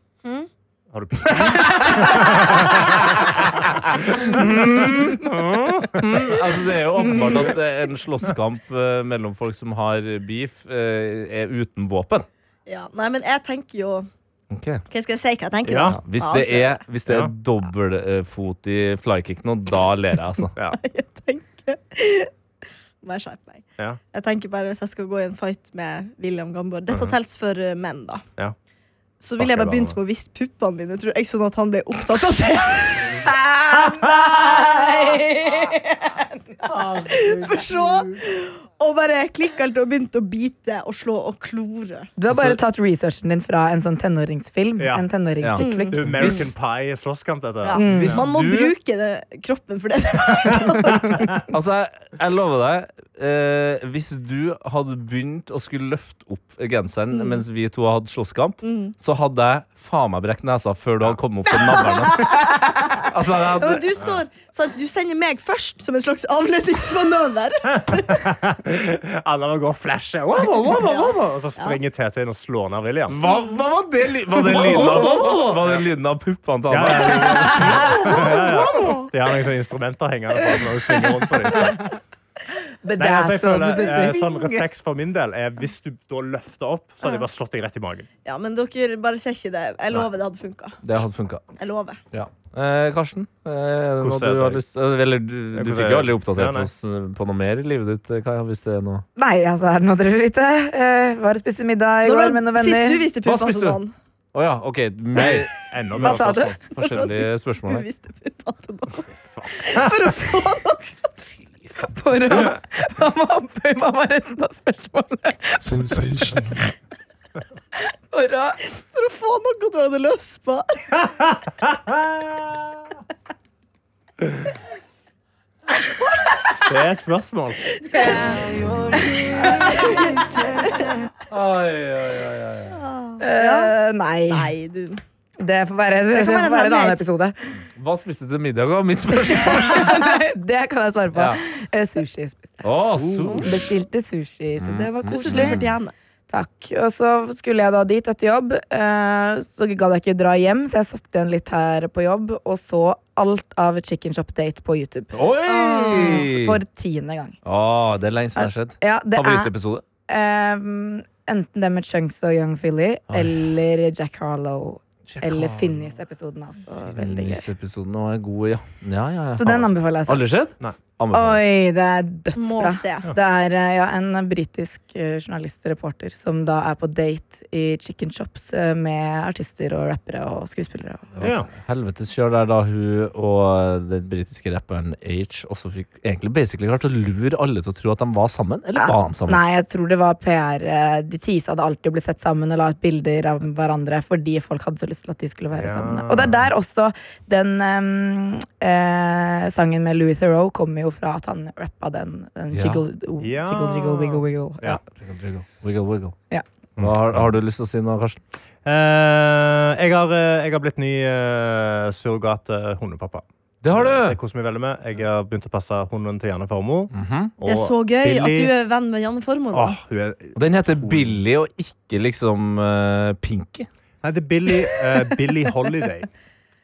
S4: Har du pistol?
S2: Altså, det er jo åpenbart at eh, en slåsskamp eh, mellom folk som har beef, eh, er uten våpen.
S3: Ja, nei, men jeg tenker jo Ok, Skal jeg si hva jeg tenker?
S4: Ja.
S2: Ja, hvis, det er, hvis det er
S4: Ja.
S2: dobbeltfotig flykick nå, da ler jeg, altså.
S4: Ja.
S3: Jeg tenker Må jeg skjerpe meg.
S4: Ja.
S3: Jeg tenker bare Hvis jeg skal gå i en fight med William Gamborg Dette tels for eh, menn, da.
S4: Mhm. Ja.
S3: Så ville jeg bare
S4: Bakker
S3: begynt med
S4: hverandre.
S3: å vise puppene mine, tror jeg, sånn at han ble opptatt av det. For så å bare klikke alt og begynte å bite og slå og klore.
S5: Du har bare tatt researchen din fra en sånn tenåringsfilm.
S4: Altså- Ja.
S5: En tenåringsskikkelig.
S4: Du, American Pie-slåsskamp, dette.
S3: Ja. Mm.
S5: Mm.
S2: Hvis
S3: Man må
S2: du-
S3: bruke det, kroppen for det.
S2: Altså, jeg, jeg lover deg, eh, hvis du hadde begynt å skulle løfte opp genseren mens vi to hadde slåsskamp, så hadde jeg faen meg brekt nesa før du hadde kommet opp på navlen hans. Altså, jeg
S3: Ja,
S2: hadde,
S3: men du står så at du sender meg først som en slags avledningsmanøver.
S4: Alle må gå og flashe. Wow, wow, wow, wow, wow, wow. Og så springer TT inn og slår ned William.
S2: hva, hva var det, ly- var det lyden av? Var det lyden av puppene til
S4: Ja,
S2: Anna?
S4: ja, ja. ja, ja. De har noen sånne instrumenter hengende på når du svinger rundt på dem. så.
S5: But
S4: Nei, altså, jeg
S5: that's all
S4: føler,
S5: the
S4: eh,
S5: baby.
S4: sånn refleks for min del er hvis du da løfter opp, så hadde jeg bare slått deg rett i magen.
S3: Ja, men dere bare ser ikke det. Jeg lover det hadde funka.
S2: Det hadde funka.
S3: Jeg lover.
S2: Ja. Eh, Karsten, eh, er det noe
S4: Hvordan er
S2: du har
S4: det?
S2: lyst eh, Eller du, du
S4: Hvordan
S2: fikk
S4: er
S2: jo
S4: det?
S2: aldri
S4: Ja,
S2: oppdatert
S4: nei.
S2: oss eh, på noe mer i livet ditt, eh, Kaja, hvis det er noe
S5: Nei, altså, er det noe dere vil vite? Eh, var og spiste middag i
S3: Når
S5: går
S3: var-
S5: med noen venner.
S3: Sist du viste
S2: Hva
S3: puppene
S2: spiste
S3: til
S2: du?
S3: noen.
S2: Å ja, OK. Mer,
S4: Enda
S5: Hva
S4: mer
S5: sa du?
S4: slåsskamp.
S2: forskjellige spørsmål
S3: Du
S2: her.
S3: viste puppene til noen. For å få noe.
S5: For å Mamma oppe i mamma resten av spørsmålet. For å
S3: For å få noe du hadde lyst på.
S4: Det er et spørsmål.
S5: eh, Nei.
S3: Nei, du.
S5: Det får være, det
S3: kan
S5: får
S3: være en
S5: være en annen
S3: hemmelighet.
S5: episode.
S2: Hva spiste du til middag? var Mitt spørsmål.
S5: Nei, det kan jeg svare på.
S2: Ja.
S5: Eh, sushi. spiste jeg.
S2: Å, sushi.
S5: Bestilte sushi, så det var
S3: Så du
S5: koselig.
S3: fortjener.
S5: Takk. Og så skulle jeg da dit etter jobb. eh, Så gadd jeg ikke dra hjem, så jeg satt igjen litt her på jobb og så alt av Chicken Shop Date på YouTube.
S2: Oi!
S5: Ah, For tiende gang.
S2: Å, Ah, det er lenge siden det har skjedd.
S5: Ja, det er
S2: Favorittepisode?
S5: ehm, enten det med Chunks og Young Philly eller Jack Harlow. Eller Finnis-episoden også. Veldig gøy.
S2: Nisseepisoden var god, ja. ja, ja, ja.
S5: Så den anbefaler jeg.
S2: altså. Aldri skjedd?
S4: Nei.
S2: Anbefales.
S5: Oi, det er
S3: Må
S5: dødsbra.
S3: se.
S5: Det er eh, ja, en britisk eh, journalist og reporter som da er på date i chicken shops eh, med artister og rappere og skuespillere.
S4: Ja.
S2: Helvetes kjør der da hun og den britiske rapperen H også fikk egentlig basically klart å lure alle til å tro at de var sammen. Eller var de sammen?
S5: Nei, jeg tror det var PR. eh, De tisa hadde alltid blitt sett sammen og la ut bilder av hverandre fordi folk hadde så lyst til at de skulle være
S4: Ja.
S5: sammen. Og det er der også den eh, eh, sangen ehm, med Louis Theroux kommer jo fra at han rappa den, den
S2: Ja.
S5: jiggle, oh,
S4: Ja.
S5: jiggle, jiggle, wiggle, wiggle. Ja.
S4: Ja.
S2: Wiggle, wiggle.
S5: Ja.
S2: Hva har, har du lyst til å si noe, Karsten?
S4: Eh, jeg, har, eh, jeg har blitt ny eh, surrogat eh, hundepappa. Eh,
S2: Det har
S4: Det
S2: du!
S4: koser meg veldig med. Jeg har begynt å passe hunden til Janne Formoe. Og
S3: Det er så gøy at
S4: Billy- Ah,
S3: du er venn med Janne Formoe. da.
S4: Åh, hun er
S2: Og Den heter Billy og ikke liksom eh, Pinky.
S4: Nei, det er Billy, eh, Billy Holiday,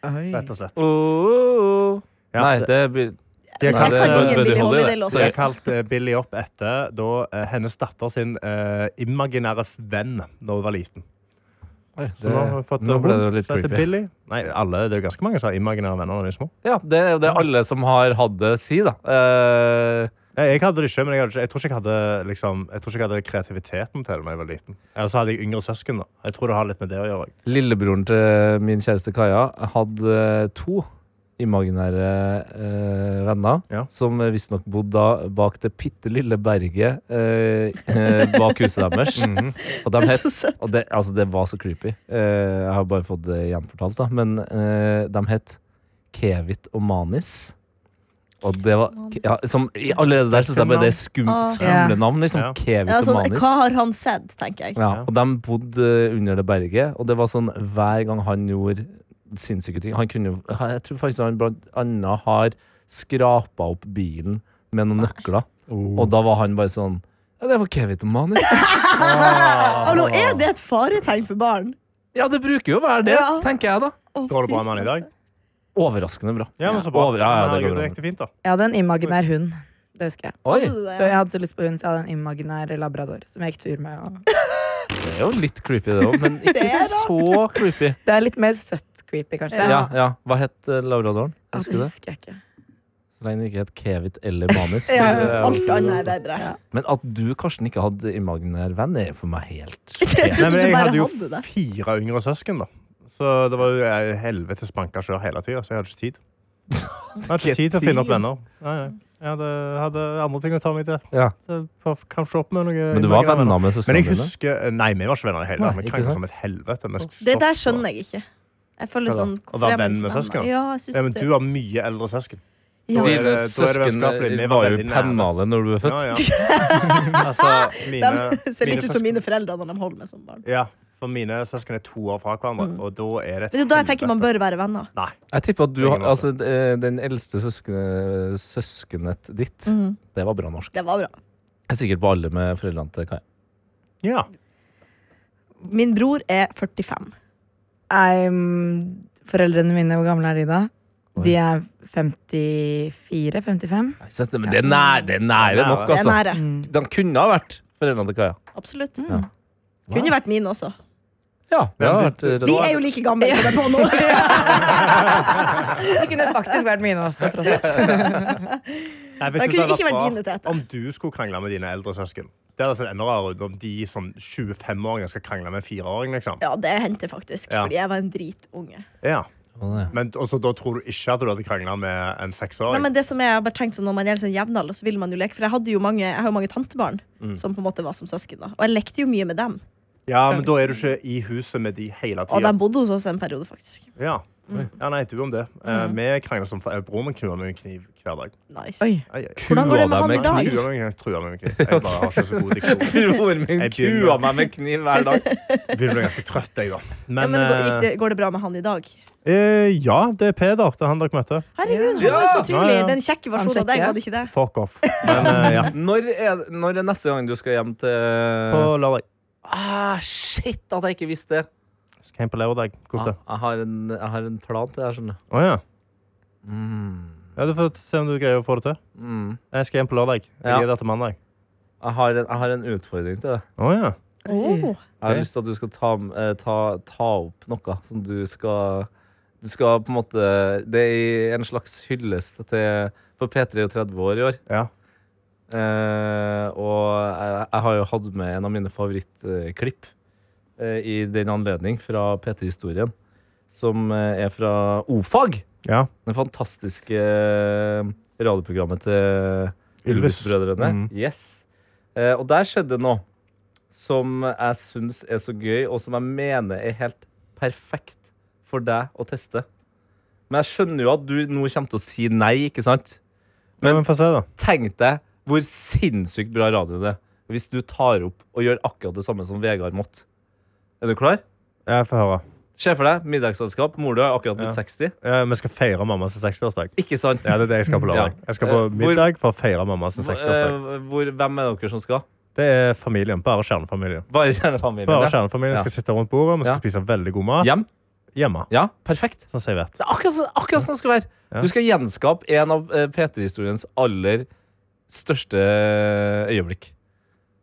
S4: rett og slett. Ja,
S2: Oh. Nei, det
S4: det-
S2: er Bi- Nei,
S4: de har
S3: Jeg
S4: kalt,
S2: det er
S3: kan
S2: Buddy
S3: ingen
S4: eh,
S2: Holly,
S3: Billy
S2: det.
S3: Holiday-låt.
S4: de har kalt eh, Billy opp etter da eh, hennes datter sin eh, imaginære venn da hun var liten.
S2: Oi, det,
S4: Så nå har hun fått
S2: nå
S4: eh,
S2: ble
S4: hund
S2: det litt
S4: som heter
S2: creepy.
S4: Billy. Nei, alle, det er jo ganske mange som har imaginære venner når de er små.
S2: Ja, det er jo det alle som har hatt det, sier, da. Eh,
S4: Jeg, jeg hadde det ikke, men jeg, hadde ikke, jeg, tror ikke jeg, hadde, liksom, jeg tror ikke jeg hadde kreativiteten til det da jeg var liten. Eller så hadde jeg yngre søsken. da. Jeg tror det har litt med det å gjøre.
S2: lillebroren til min kjæreste Kaja hadde eh, to imaginære eh, venner
S4: Ja.
S2: som visstnok bodde da bak det bitte lille berget eh, eh, bak huset deres.
S4: Mhm.
S2: Og de
S3: Det er
S2: het
S3: så søtt.
S2: og det, altså, det var så creepy. Eh, jeg har bare fått det gjenfortalt, da. Men eh, de het Kevit og Manis. Og det var
S3: Manis.
S2: ja, som, i- Allerede der syns jeg bare det er skum,
S3: Ah.
S2: skumle navn. Liksom.
S4: Ja.
S2: Kevit
S3: Ja,
S2: og
S3: sånn,
S2: Manis.
S3: hva har han sett, tenker jeg.
S2: Ja,
S4: Ja.
S2: og de bodde under det berget, og det var sånn hver gang han gjorde sinnssyke ting Han kunne jo Jeg tror faktisk han blant annet har skrapa opp bilen med noen nøkler,
S3: Oh.
S2: og da var han bare sånn Ja, det var Kevin og Manis.
S3: Hallo, er det et faretegn for barn?
S2: Ja, det bruker jo å være det,
S3: Ja.
S2: tenker jeg, da.
S3: Å,
S4: Går det
S3: fy
S4: bra med han i dag?
S2: Overraskende bra.
S4: Ja, men så bra.
S2: Over- ja, ja, det går
S4: Herregud,
S2: bra.
S4: det gikk det fint, da.
S5: Jeg hadde en imaginær hund. Det husker jeg.
S2: Oi,
S3: faen, det
S5: Før
S3: er-
S5: jeg hadde så lyst på hund, så jeg hadde en imaginær labrador som jeg gikk tur med. Og...
S2: det er jo litt creepy, det òg, men ikke
S3: er rart.
S2: så creepy.
S5: Det er litt mer søtt creepy, kanskje.
S2: Ja, ja. Hva het eh, labradoren?
S5: Ja,
S2: Husker du det?
S5: husker jeg ikke.
S2: Så lenge det ikke het Kevit eller Manis.
S3: Ja,
S2: Det
S4: eh,
S2: er jo-
S3: alt annet er bedre.
S5: Ja.
S2: Men at du, Karsten, ikke hadde imaginær venn, er for meg helt
S3: Jeg
S2: sjokkerende.
S4: Nei,
S3: trodde
S4: men
S3: du
S4: jeg
S3: bare
S4: hadde jo
S3: hadde det.
S4: fire yngre søsken, da. Så det var jo jeg helvetes banka sjøl hele tida, så jeg hadde ikke tid. Jeg hadde ikke tid til å finne opp venner. Nei, nei. Jeg hadde, hadde andre ting å ta meg til.
S2: Ja.
S4: Så jeg kan se opp med noe
S2: Men du var venner med
S4: Men
S2: søstrene
S4: jeg
S2: dine?
S4: husker Nei, vi var ikke venner i det hele
S2: Nei,
S4: tatt. Vi
S2: ikke
S4: kranglet
S2: sant?
S4: som et helvete. men
S3: Det der
S4: så-
S3: skjønner jeg ikke. Jeg føler
S4: Hva da?
S3: sånn
S4: Å være
S3: hvorfor er man
S4: venn
S3: ikke
S4: med
S3: venn?
S4: søsken?
S3: Ja, jeg synes
S4: Ja, men
S3: det.
S4: du har mye eldre søsken.
S3: Ja.
S4: Da er
S2: Dine
S4: det- da er det
S2: søsken eh,
S4: vennskapelig. Vi var
S2: var jo
S4: veldig nære.
S2: pennale når du ble
S4: Ja,
S2: født.
S4: ja. Altså, mine,
S3: De ser
S4: mine
S3: litt ut som mine
S4: søsken
S3: foreldre når de holder meg som barn.
S4: Ja, for mine søsken er to år fra hverandre, og da er det
S3: Men
S4: et
S3: det er Mm. da jeg tenker man
S4: helvete.
S3: bør være venner.
S4: Nei.
S2: Jeg tipper at du
S4: Ingen
S2: har
S4: måte.
S2: Altså, eh, den eldste søskene, søskenet ditt
S3: Mm.
S2: Det var bra norsk.
S3: Det var bra.
S2: Jeg er sikkert på alle med foreldrene til Kai.
S4: Ja.
S3: Min bror er 45.
S5: I'm- Ehm, foreldrene mine, hvor gamle er de da?
S2: Oi.
S5: De er 54-55.
S2: Nei, sant, Men det er nære, det er nære nok,
S3: Det er
S2: altså.
S3: nære.
S5: Mm.
S2: De kunne ha vært foreldrene til Kaja.
S3: Absolutt.
S2: Ja.
S3: Kunne vært mine også.
S2: Ja, det har vært eh,
S3: De er jo like gamle som jeg er på nå.
S5: Det kunne faktisk vært mine også, tross alt.
S4: Nei,
S3: Det kunne
S4: jeg synes hadde
S3: ikke vært
S4: bra
S3: dine, Tete.
S4: Om du skulle krangle med dine eldre søsken. Det hadde sett enda rarere ut om de som 25-åringer skal krangle med en 4-åring. Liksom.
S3: Ja, det hendte faktisk,
S4: Ja.
S3: fordi jeg var en dritunge.
S4: Ja.
S2: Å, nei.
S4: Men også, da tror du ikke at du hadde krangla med en
S3: Nei,
S4: 6-åring?
S3: men det som jeg har bare tenkt sånn, Når man er litt sånn jevnalder, så vil man jo leke. For jeg hadde jo mange, jeg har jo mange tantebarn
S4: Mm.
S3: som på en måte var som søsken. da Og jeg lekte jo mye med dem.
S4: Ja, men da er du ikke i huset med de hele
S3: Og
S4: tida.
S3: de bodde hos oss en periode, faktisk.
S4: Ja. ja, nei, du om det. Eh,
S3: Mm.
S4: vi krangler som fa- eh, Broren min kuer med en kniv hver dag.
S3: Nice.
S5: Oi.
S4: Ai, ai.
S3: Hvordan går det med
S2: Kua
S3: han
S2: deg
S3: i
S2: med
S3: dag?
S4: Kuer meg, jeg truer meg med kniv. Jeg bare har ikke så god diksjon.
S2: Broren min
S4: Jeg begynner.
S2: meg med kniv hver dag.
S4: Jeg Begynner å bli ganske trøtt, jeg, da.
S3: Ja,
S4: Men,
S3: men går, gikk det,
S4: eh,
S3: går det bra med han i dag?
S4: eh, ja, det er Peder. Det er han dere møtte.
S3: Herregud, han var jo så trivelig.
S4: Ja, ja.
S3: Den kjekke versjonen av
S5: Han
S3: deg,
S5: kjekke.
S3: var det ikke det?
S4: Fuck off. Men eh, ja,
S2: Når er, når er neste gang du skal hjem
S4: på
S2: til
S4: lørdag.
S2: ah, Shit, at jeg ikke visste det!
S4: Skal hjem på lørdag. Kos
S2: Ah,
S4: deg.
S2: jeg, har en, jeg har en plan til det her, skjønner du.
S4: Å ja. Ja, Du får se om du greier å få det til.
S2: Mm.
S4: Jeg skal hjem på lørdag. Jeg
S2: Ja.
S4: er der til mandag.
S2: Jeg, har en, jeg har en utfordring til deg.
S4: Å ja.
S3: Oh.
S2: Jeg har
S4: Ok.
S2: lyst til at du skal ta, eh, ta, ta opp noe som du skal Du skal på en måte Det er en slags hyllest til For P3 er jo 30 år i år.
S4: ja.
S2: Eh, og jeg, jeg har jo hatt med en av mine favorittklipp eh, i den anledning fra P3-historien, som eh, er fra O-fag.
S4: Ja.
S2: Det fantastiske eh, radioprogrammet til
S4: Ylvis.
S2: Ylvis-brødrene.
S4: Mm.
S2: Yes. Eh, og der skjedde noe som jeg syns er så gøy, og som jeg mener er helt perfekt for deg å teste. Men jeg skjønner jo at du nå kommer til å si nei, ikke sant?
S4: Men, få se, da.
S2: Tenk deg hvor sinnssykt bra radio det er hvis du tar opp og gjør akkurat det samme som Vegard måtte. Er du klar?
S4: Jeg får høre.
S2: Se for deg middagsselskap. Mor du er akkurat blitt
S4: Ja.
S2: 60.
S4: Ja, vi skal feire mammas 60-årsdag.
S2: Ikke sant?
S4: Ja, det er det jeg skal på lørdag.
S2: Ja.
S4: Jeg skal på
S2: Eh, hvor-
S4: middag for å feire mammas 60-årsdag.
S2: Eh, hvor, hvem er dere som skal?
S4: Det er familien. Bare kjernefamilien.
S2: Bare kjernefamilien.
S4: Bare
S2: ja.
S4: kjernefamilien
S2: Ja.
S4: skal sitte rundt bordet, vi
S2: Ja.
S4: skal spise veldig god mat.
S2: Hjem?
S4: Hjemme.
S2: Ja, perfekt.
S4: Sånn som jeg vet.
S2: Det er akkurat, akkurat sånn det skal være.
S4: Ja.
S2: Du skal gjenskape en av eh, P3-historiens aller største øyeblikk.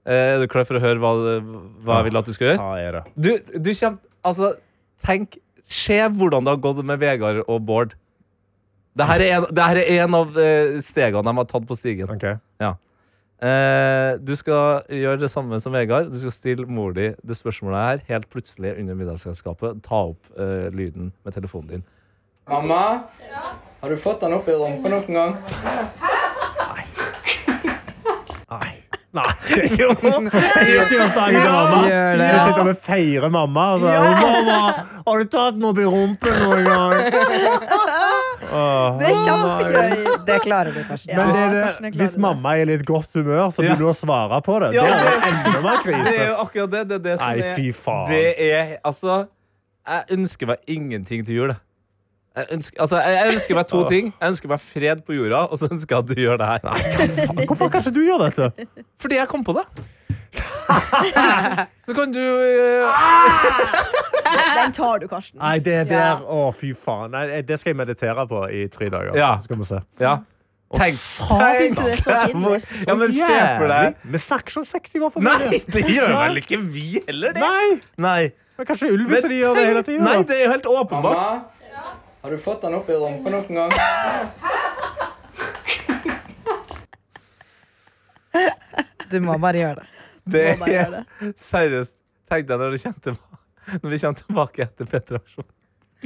S2: Eh, Er du klar for å høre hva, hva jeg vil at du skal gjøre?
S4: Hva er det?
S2: Du, du kommer Altså, tenk Se hvordan det har gått med Vegard og Bård. Dette er en, det her er en av eh, stegene de har tatt på stigen.
S4: Ok.
S2: Eh, du skal gjøre det samme som Vegard. Du skal stille mor di det spørsmålet her helt plutselig under middagsselskapet. Ta opp eh, lyden med telefonen din.
S7: Mamma? Har du fått den opp i rumpa noen gang?
S4: Nei. Nei. Jo. På 60-årsdagen til mamma.
S5: Gjør det.
S4: Så sitter vi og feirer mamma. Og så, «Å, mamma, har du tatt noe i rumpen noen gang? Åh.
S3: Det er kjempegøy.
S5: Det klarer du, Karsten.
S3: Ja,
S4: Men det er
S3: Karsten
S4: det,
S3: er glad i
S4: hvis
S3: det.
S4: mamma er i litt godt humør, så begynner du å svare på det. Det er jo enda mer krise.
S2: akkurat det. Det er det
S4: Nei, fy faen.
S2: Det er Altså, jeg ønsker meg ingenting til jul. jeg. Jeg ønsker, altså, jeg jeg ønsker meg to ting. Jeg ønsker meg fred på jorda, og så ønsker jeg at du gjør det her.
S4: Faen, Hvorfor kan ikke du gjøre dette?
S2: Fordi jeg kom på det. så kan du eh,
S3: Den tar du, Karsten.
S4: Nei, det der, å fy faen. Nei, det skal jeg meditere på i tre dager.
S2: Ja.
S4: Skal vi se.
S2: Ja. Tenk,
S3: Syns
S2: tenk
S3: du det er så pinlig?
S2: Ja, men se for deg
S4: Vi snakker ikke om sex i vår
S2: Nei,
S4: familie.
S2: det gjør vel ikke vi heller, det?
S4: Nei,
S2: Nei,
S4: men kanskje ulviser de gjør det hele tiden.
S2: Nei
S4: da.
S2: det er jo helt åpenbart.
S7: Mamma? Har du fått den opp i rumpa noen gang?
S5: Du må bare gjøre det.
S2: Det
S3: Må bare gjøre
S2: er seriøst. Tenk deg når, det kommer tilbake, når vi kommer tilbake etter Petra Aksjon.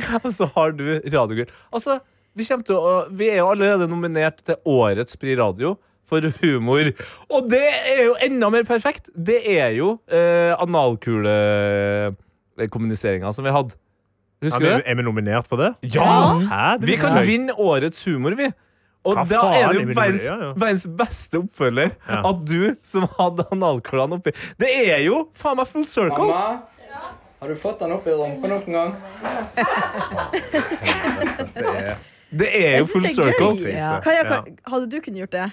S2: Og så har du radiogull. Altså, vi, kommer til å, vi er jo allerede nominert til Årets Pri Radio for humor. Og det er jo enda mer perfekt! Det er jo eh, analkulekommuniseringa som vi hadde.
S4: Ja,
S2: Husker
S4: men
S2: du det?
S4: Er vi nominert for det?
S2: Ja!
S4: Hæ? Det
S2: Vi
S4: visste
S2: kan
S4: jeg.
S2: vinne årets humor, vi. Og
S4: Hva
S2: da
S4: faen,
S2: er det jo
S4: det vil
S2: verdens,
S4: jeg gjøre, ja.
S2: verdens beste oppfølger
S4: Ja.
S2: at du som hadde analkolene oppi Det er jo faen meg full circle!
S7: Mamma? Har du fått den opp i rumpa noen gang?
S2: Det er
S3: Jeg
S2: jo full
S3: synes det er
S2: circle.
S3: gøy.
S5: Ja.
S3: Kaja,
S4: Ja.
S3: ka- hadde du kunnet gjort det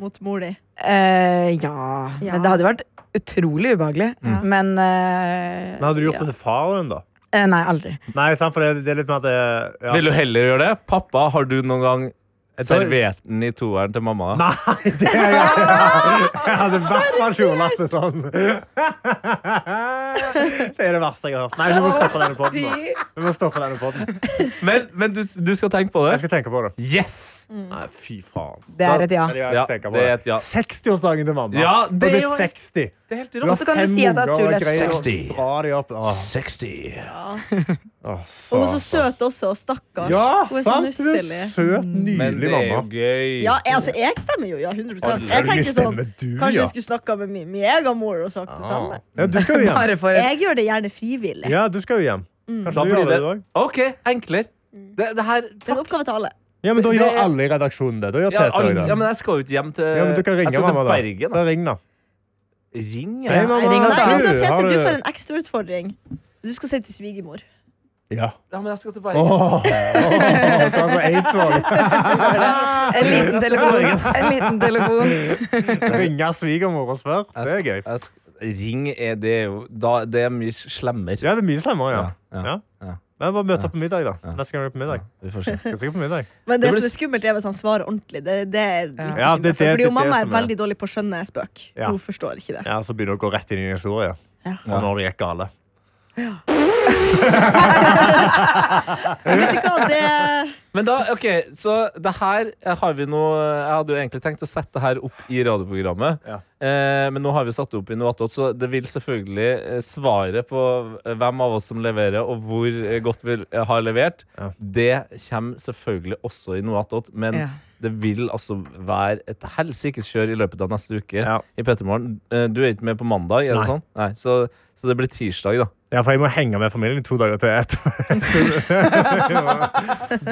S3: mot mor di?
S5: Eh, ja.
S3: Ja.
S5: Men det hadde vært utrolig ubehagelig. Men
S4: Men
S5: eh,
S4: hadde du gjort det til faren din, da?
S5: eh, Nei, aldri.
S4: Nei, sant, for det, det er litt mer at det ja.
S2: Vil du heller gjøre det? Pappa, har du noen gang
S4: tror-
S2: servert den i toeren til mamma?
S4: Nei, det er jeg ikke. Jeg hadde i hvert fall ikke latt det sånn. Det er det verste jeg har hørt. Nei, vi må stoppe denne podden nå. Vi må stoppe denne podden.
S2: Men, men du, du skal tenke på
S4: Jeg
S2: det?
S4: skal tenke på det.
S2: Yes!
S4: Nei, fy faen.
S5: Det er et ja.
S4: Nei, jeg
S2: Ja,
S4: skal tenke på
S2: det er
S4: det.
S2: et ja.
S4: 60-årsdagen til mamma.
S2: Ja, det
S4: Du har
S2: er
S4: blitt
S2: jo-
S4: 60.
S2: Det er helt
S4: Du har
S5: så kan du
S4: fem
S5: si at det er
S4: unger og
S5: tullet.
S4: greier, og
S1: 60.
S4: Drar de opp. Åh,
S1: 60.
S4: åh,
S3: Og hun er så
S4: satan.
S3: søt også. Stakkars.
S4: Ja,
S3: hun er så
S4: sant? Du er
S3: nusselig.
S4: søt,
S2: Men
S4: nydelig
S2: det er jo
S4: mamma.
S2: gøy.
S3: Ja, jeg, altså, jeg stemmer jo, ja. 100 Jeg
S4: Selvfølgelig
S3: tenker sånn,
S4: stemmer du,
S3: Kanskje
S4: ja.
S3: jeg skulle snakka med min, min egen mor og sagt det
S4: Ah.
S3: samme.
S4: Ja, du skal jo hjem.
S5: Bare for et
S3: Jeg gjør det gjerne frivillig.
S4: Ja, du skal jo hjem.
S2: Da
S4: Kanskje du
S2: blir
S4: gjør
S2: det
S4: det, du òg?
S2: OK, enklere. Det, det her
S3: Det er en oppgave til alle.
S4: Ja, men da
S2: Det- det
S4: gjør
S2: er-
S4: alle i redaksjonen det. Da gjør
S2: ja,
S4: Tete òg
S2: al-
S4: det.
S2: ja, men jeg skal jo ikke hjem til
S4: Ja, men du kan
S2: Jeg
S4: ringe
S2: skal
S4: mamma,
S2: til
S4: da.
S2: Bergen.
S4: da
S2: da.
S4: ring, da.
S2: Ring,
S4: Hei,
S2: jeg.
S4: mamma.
S5: ring og
S3: Nei,
S5: ta.
S3: vet du hva,
S4: Har
S3: Tete,
S4: du-
S3: du får en ekstra utfordring. Du skal si til svigermor.
S4: Ja.
S2: Ja, men jeg skal til Bergen.
S4: Åh, åh, ta på Eidsvåg.
S5: En liten telefon. En liten telefon.
S4: Ringe svigermor og spørre. Det er gøy.
S2: Jeg sk- ring er det er jo da, Det er mye slemmere.
S4: Ja, det er mye slemmere, ja.
S2: Ja,
S4: ja.
S2: ja, ja.
S4: Men bare møte opp på middag, da. Neste gang du er på middag.
S2: Vi får se.
S4: Skal sikkert på middag.
S3: Men
S2: Det
S3: det,
S2: blir
S3: som er
S2: s-
S3: skummelt, er hvis han svarer ordentlig. Det, det er litt
S4: Ja,
S3: bekymret
S4: det-
S3: for,
S4: det-
S3: fordi
S4: det-
S3: jo mamma
S4: det
S3: er
S4: som er-
S3: veldig dårlig på å skjønne spøk.
S4: Ja.
S3: Hun forstår ikke det.
S4: Ja, Så begynner du å gå rett inn i en historie.
S3: Ja.
S4: Og når det gikk gale.
S3: Vet du hva, det
S2: Men da, ok, så det her eh, har vi noe Jeg hadde jo egentlig tenkt å sette det her opp i radioprogrammet.
S4: Ja.
S2: Eh, men nå har vi satt det opp i noe attåt, så det vil selvfølgelig eh, svaret på eh, hvem av oss som leverer, og hvor eh, godt vi eh, har levert,
S4: Ja.
S2: det kommer selvfølgelig også i noe attåt. Men
S5: Ja.
S2: Det vil altså være et helsikes kjør i løpet av neste uke
S4: Ja.
S2: i Petermorgen. Du er ikke med på mandag, er det
S4: Nei.
S2: sånn? Nei, så, så det blir tirsdag, da.
S4: Ja, for jeg må henge med familien i to dager til etter.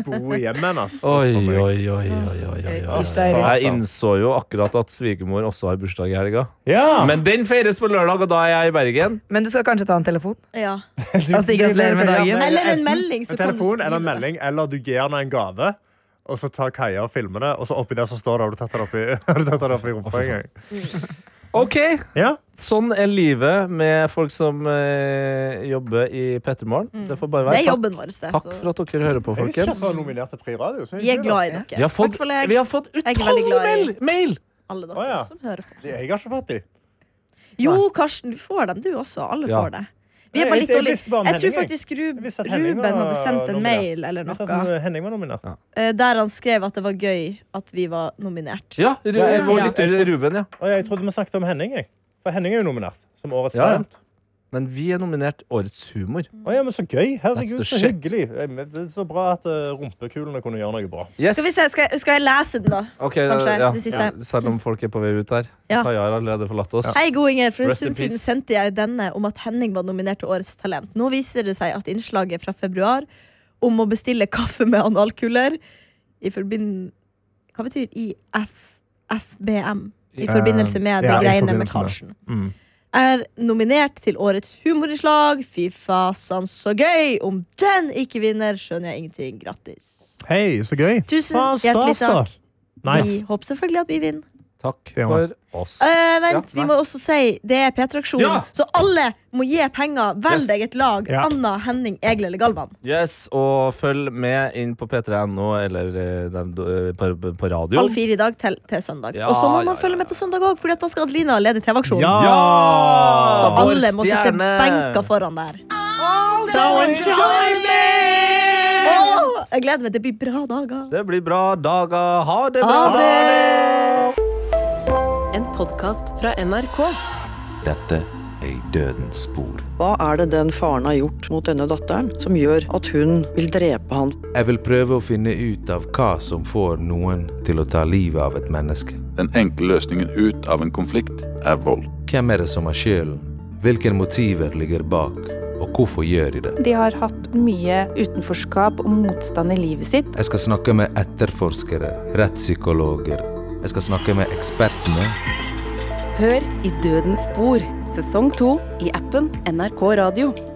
S4: Bo i hjemmet hennes.
S2: Oi, oi, oi, oi, oi, oi, oi.
S5: Tirsdag er
S2: Jeg innså jo akkurat at svigermor også har bursdag i helga.
S4: Ja!
S2: Men den feires på lørdag, og da er jeg i Bergen.
S5: Men du skal kanskje ta en telefon?
S3: Ja.
S5: Altså, gratulerer med dagen.
S3: Eller en melding, så
S4: En
S3: kan du
S4: telefon
S3: skrive
S4: eller en
S3: det.
S4: melding, eller du gir henne en gave. Og så tar Kaja og filmer det, og så oppi der så står det har du tatt den oppi, har du tatt den oppi rumpa en gang.
S2: Ok,
S4: Ja.
S2: Sånn er livet med folk som eh, jobber i Petermorgen. Det får bare
S3: Mm. Det
S2: være.
S3: er
S2: Takk,
S3: jobben altså. vår. Det,
S2: takk
S3: så-
S2: for at dere hører på,
S4: Jeg er
S2: folkens.
S4: kjempe nominert til Pri Radio. så
S3: Vi er
S4: hyggelig, da.
S3: glad i dere.
S2: Vi har fått,
S3: Takk for leg.
S2: vi har fått
S3: er veldig
S2: utallige
S3: glad i-
S2: mail! mail.
S3: Alle dere
S4: Å, ja.
S3: som hører på.
S4: Jeg har ikke fått de.
S3: Jo, Karsten, du får dem, du også. Alle
S2: Ja.
S3: får det. Vi er bare
S4: Jeg-
S3: litt
S4: jeg
S3: dårlige.
S4: visste bare om
S3: Jeg tror
S4: Henning, jeg.
S3: faktisk Rub
S4: Jeg visste at Henning
S3: Ruben
S4: var
S3: hadde sendt en
S4: nominert.
S3: mail eller
S4: Jeg sa at
S3: noe,
S4: Henning var nominert. Å
S3: eh, der han skrev at det var gøy at vi var nominert.
S2: Ja, Ru
S4: Ja, ja.
S2: vår lytter Ruben, ja.
S4: jeg trodde vi snakket om Henning. Jeg. For Henning er jo nominert som årets
S2: Ja, ja.
S4: talent.
S2: Men vi er nominert Årets humor.
S4: Å ja, men så gøy.
S2: That's
S4: Herregud,
S2: the
S4: så
S2: shit.
S4: hyggelig. Jeg- men Det er så bra at eh, rumpekulene kunne gjøre noe bra.
S2: Yes.
S3: Skal, vi se, skal, jeg, skal jeg lese den, da?
S2: Ok,
S3: Kanskje,
S2: ja.
S3: det siste.
S2: Ja, Selv om folk er på vei ut her.
S3: Ja.
S2: Kaja har allerede forlatt oss.
S3: Hei, god Inger. For en
S2: Rest in
S3: stund siden
S2: peace.
S3: sendte jeg denne om at Henning var nominert til Årets talent. Nå viser det seg at innslaget fra februar om å bestille kaffe med analkuler i forbind... Hva betyr IFBM? I
S4: Eh,
S3: forbindelse med de
S4: ja, i
S3: greiene med
S4: forbindelse med.
S3: Karlsen.
S4: Mm.
S3: Er nominert til Årets humorinnslag. Fy fasan, så gøy! Om den ikke vinner, skjønner jeg ingenting. Grattis.
S4: Hei, så gøy.
S3: Tusen
S4: Ah, stas,
S3: hjertelig
S4: da.
S3: takk. Vi håper selvfølgelig at vi vinner.
S2: Takk
S4: Ja.
S2: for oss.
S3: Eh, vent,
S2: Ja,
S3: vi må også si det er P3-aksjonen.
S2: Ja!
S3: Så alle må gi penger. Velg deg et lag.
S4: Ja.
S3: Anna, Henning, Egil eller Galvan.
S2: Yes, Og følg med inn på p3.no eller eh, den, eh, på, på radio.
S3: Halv fire i dag til, til søndag.
S2: Ja,
S3: og så må
S2: ja,
S3: man
S2: ja,
S3: følge med på søndag òg, for da skal Adelina lede TV-aksjonen.
S4: Ja!
S2: Ja!
S3: Så
S2: Vår
S3: alle må sitte
S2: stjerne.
S3: benka foran der. Åh, jeg gleder meg. Det blir bra dager.
S2: Det blir bra dager. Ha det bra!
S3: Ha det!
S8: En podkast fra NRK.
S9: Dette er i dødens spor.
S10: Hva er det den faren har gjort mot denne datteren som gjør at hun vil drepe han?
S9: Jeg vil prøve å finne ut av hva som får noen til å ta livet av et menneske.
S11: Den enkle løsningen ut av en konflikt er vold.
S9: Hvem er det som har skylden? Hvilke motiver ligger bak? Og hvorfor gjør de det?
S10: De har hatt mye utenforskap og motstand i livet sitt.
S9: Jeg skal snakke med etterforskere, rettspsykologer. Jeg skal snakke med ekspertene.
S8: Hør I dødens spor, sesong to i appen NRK Radio.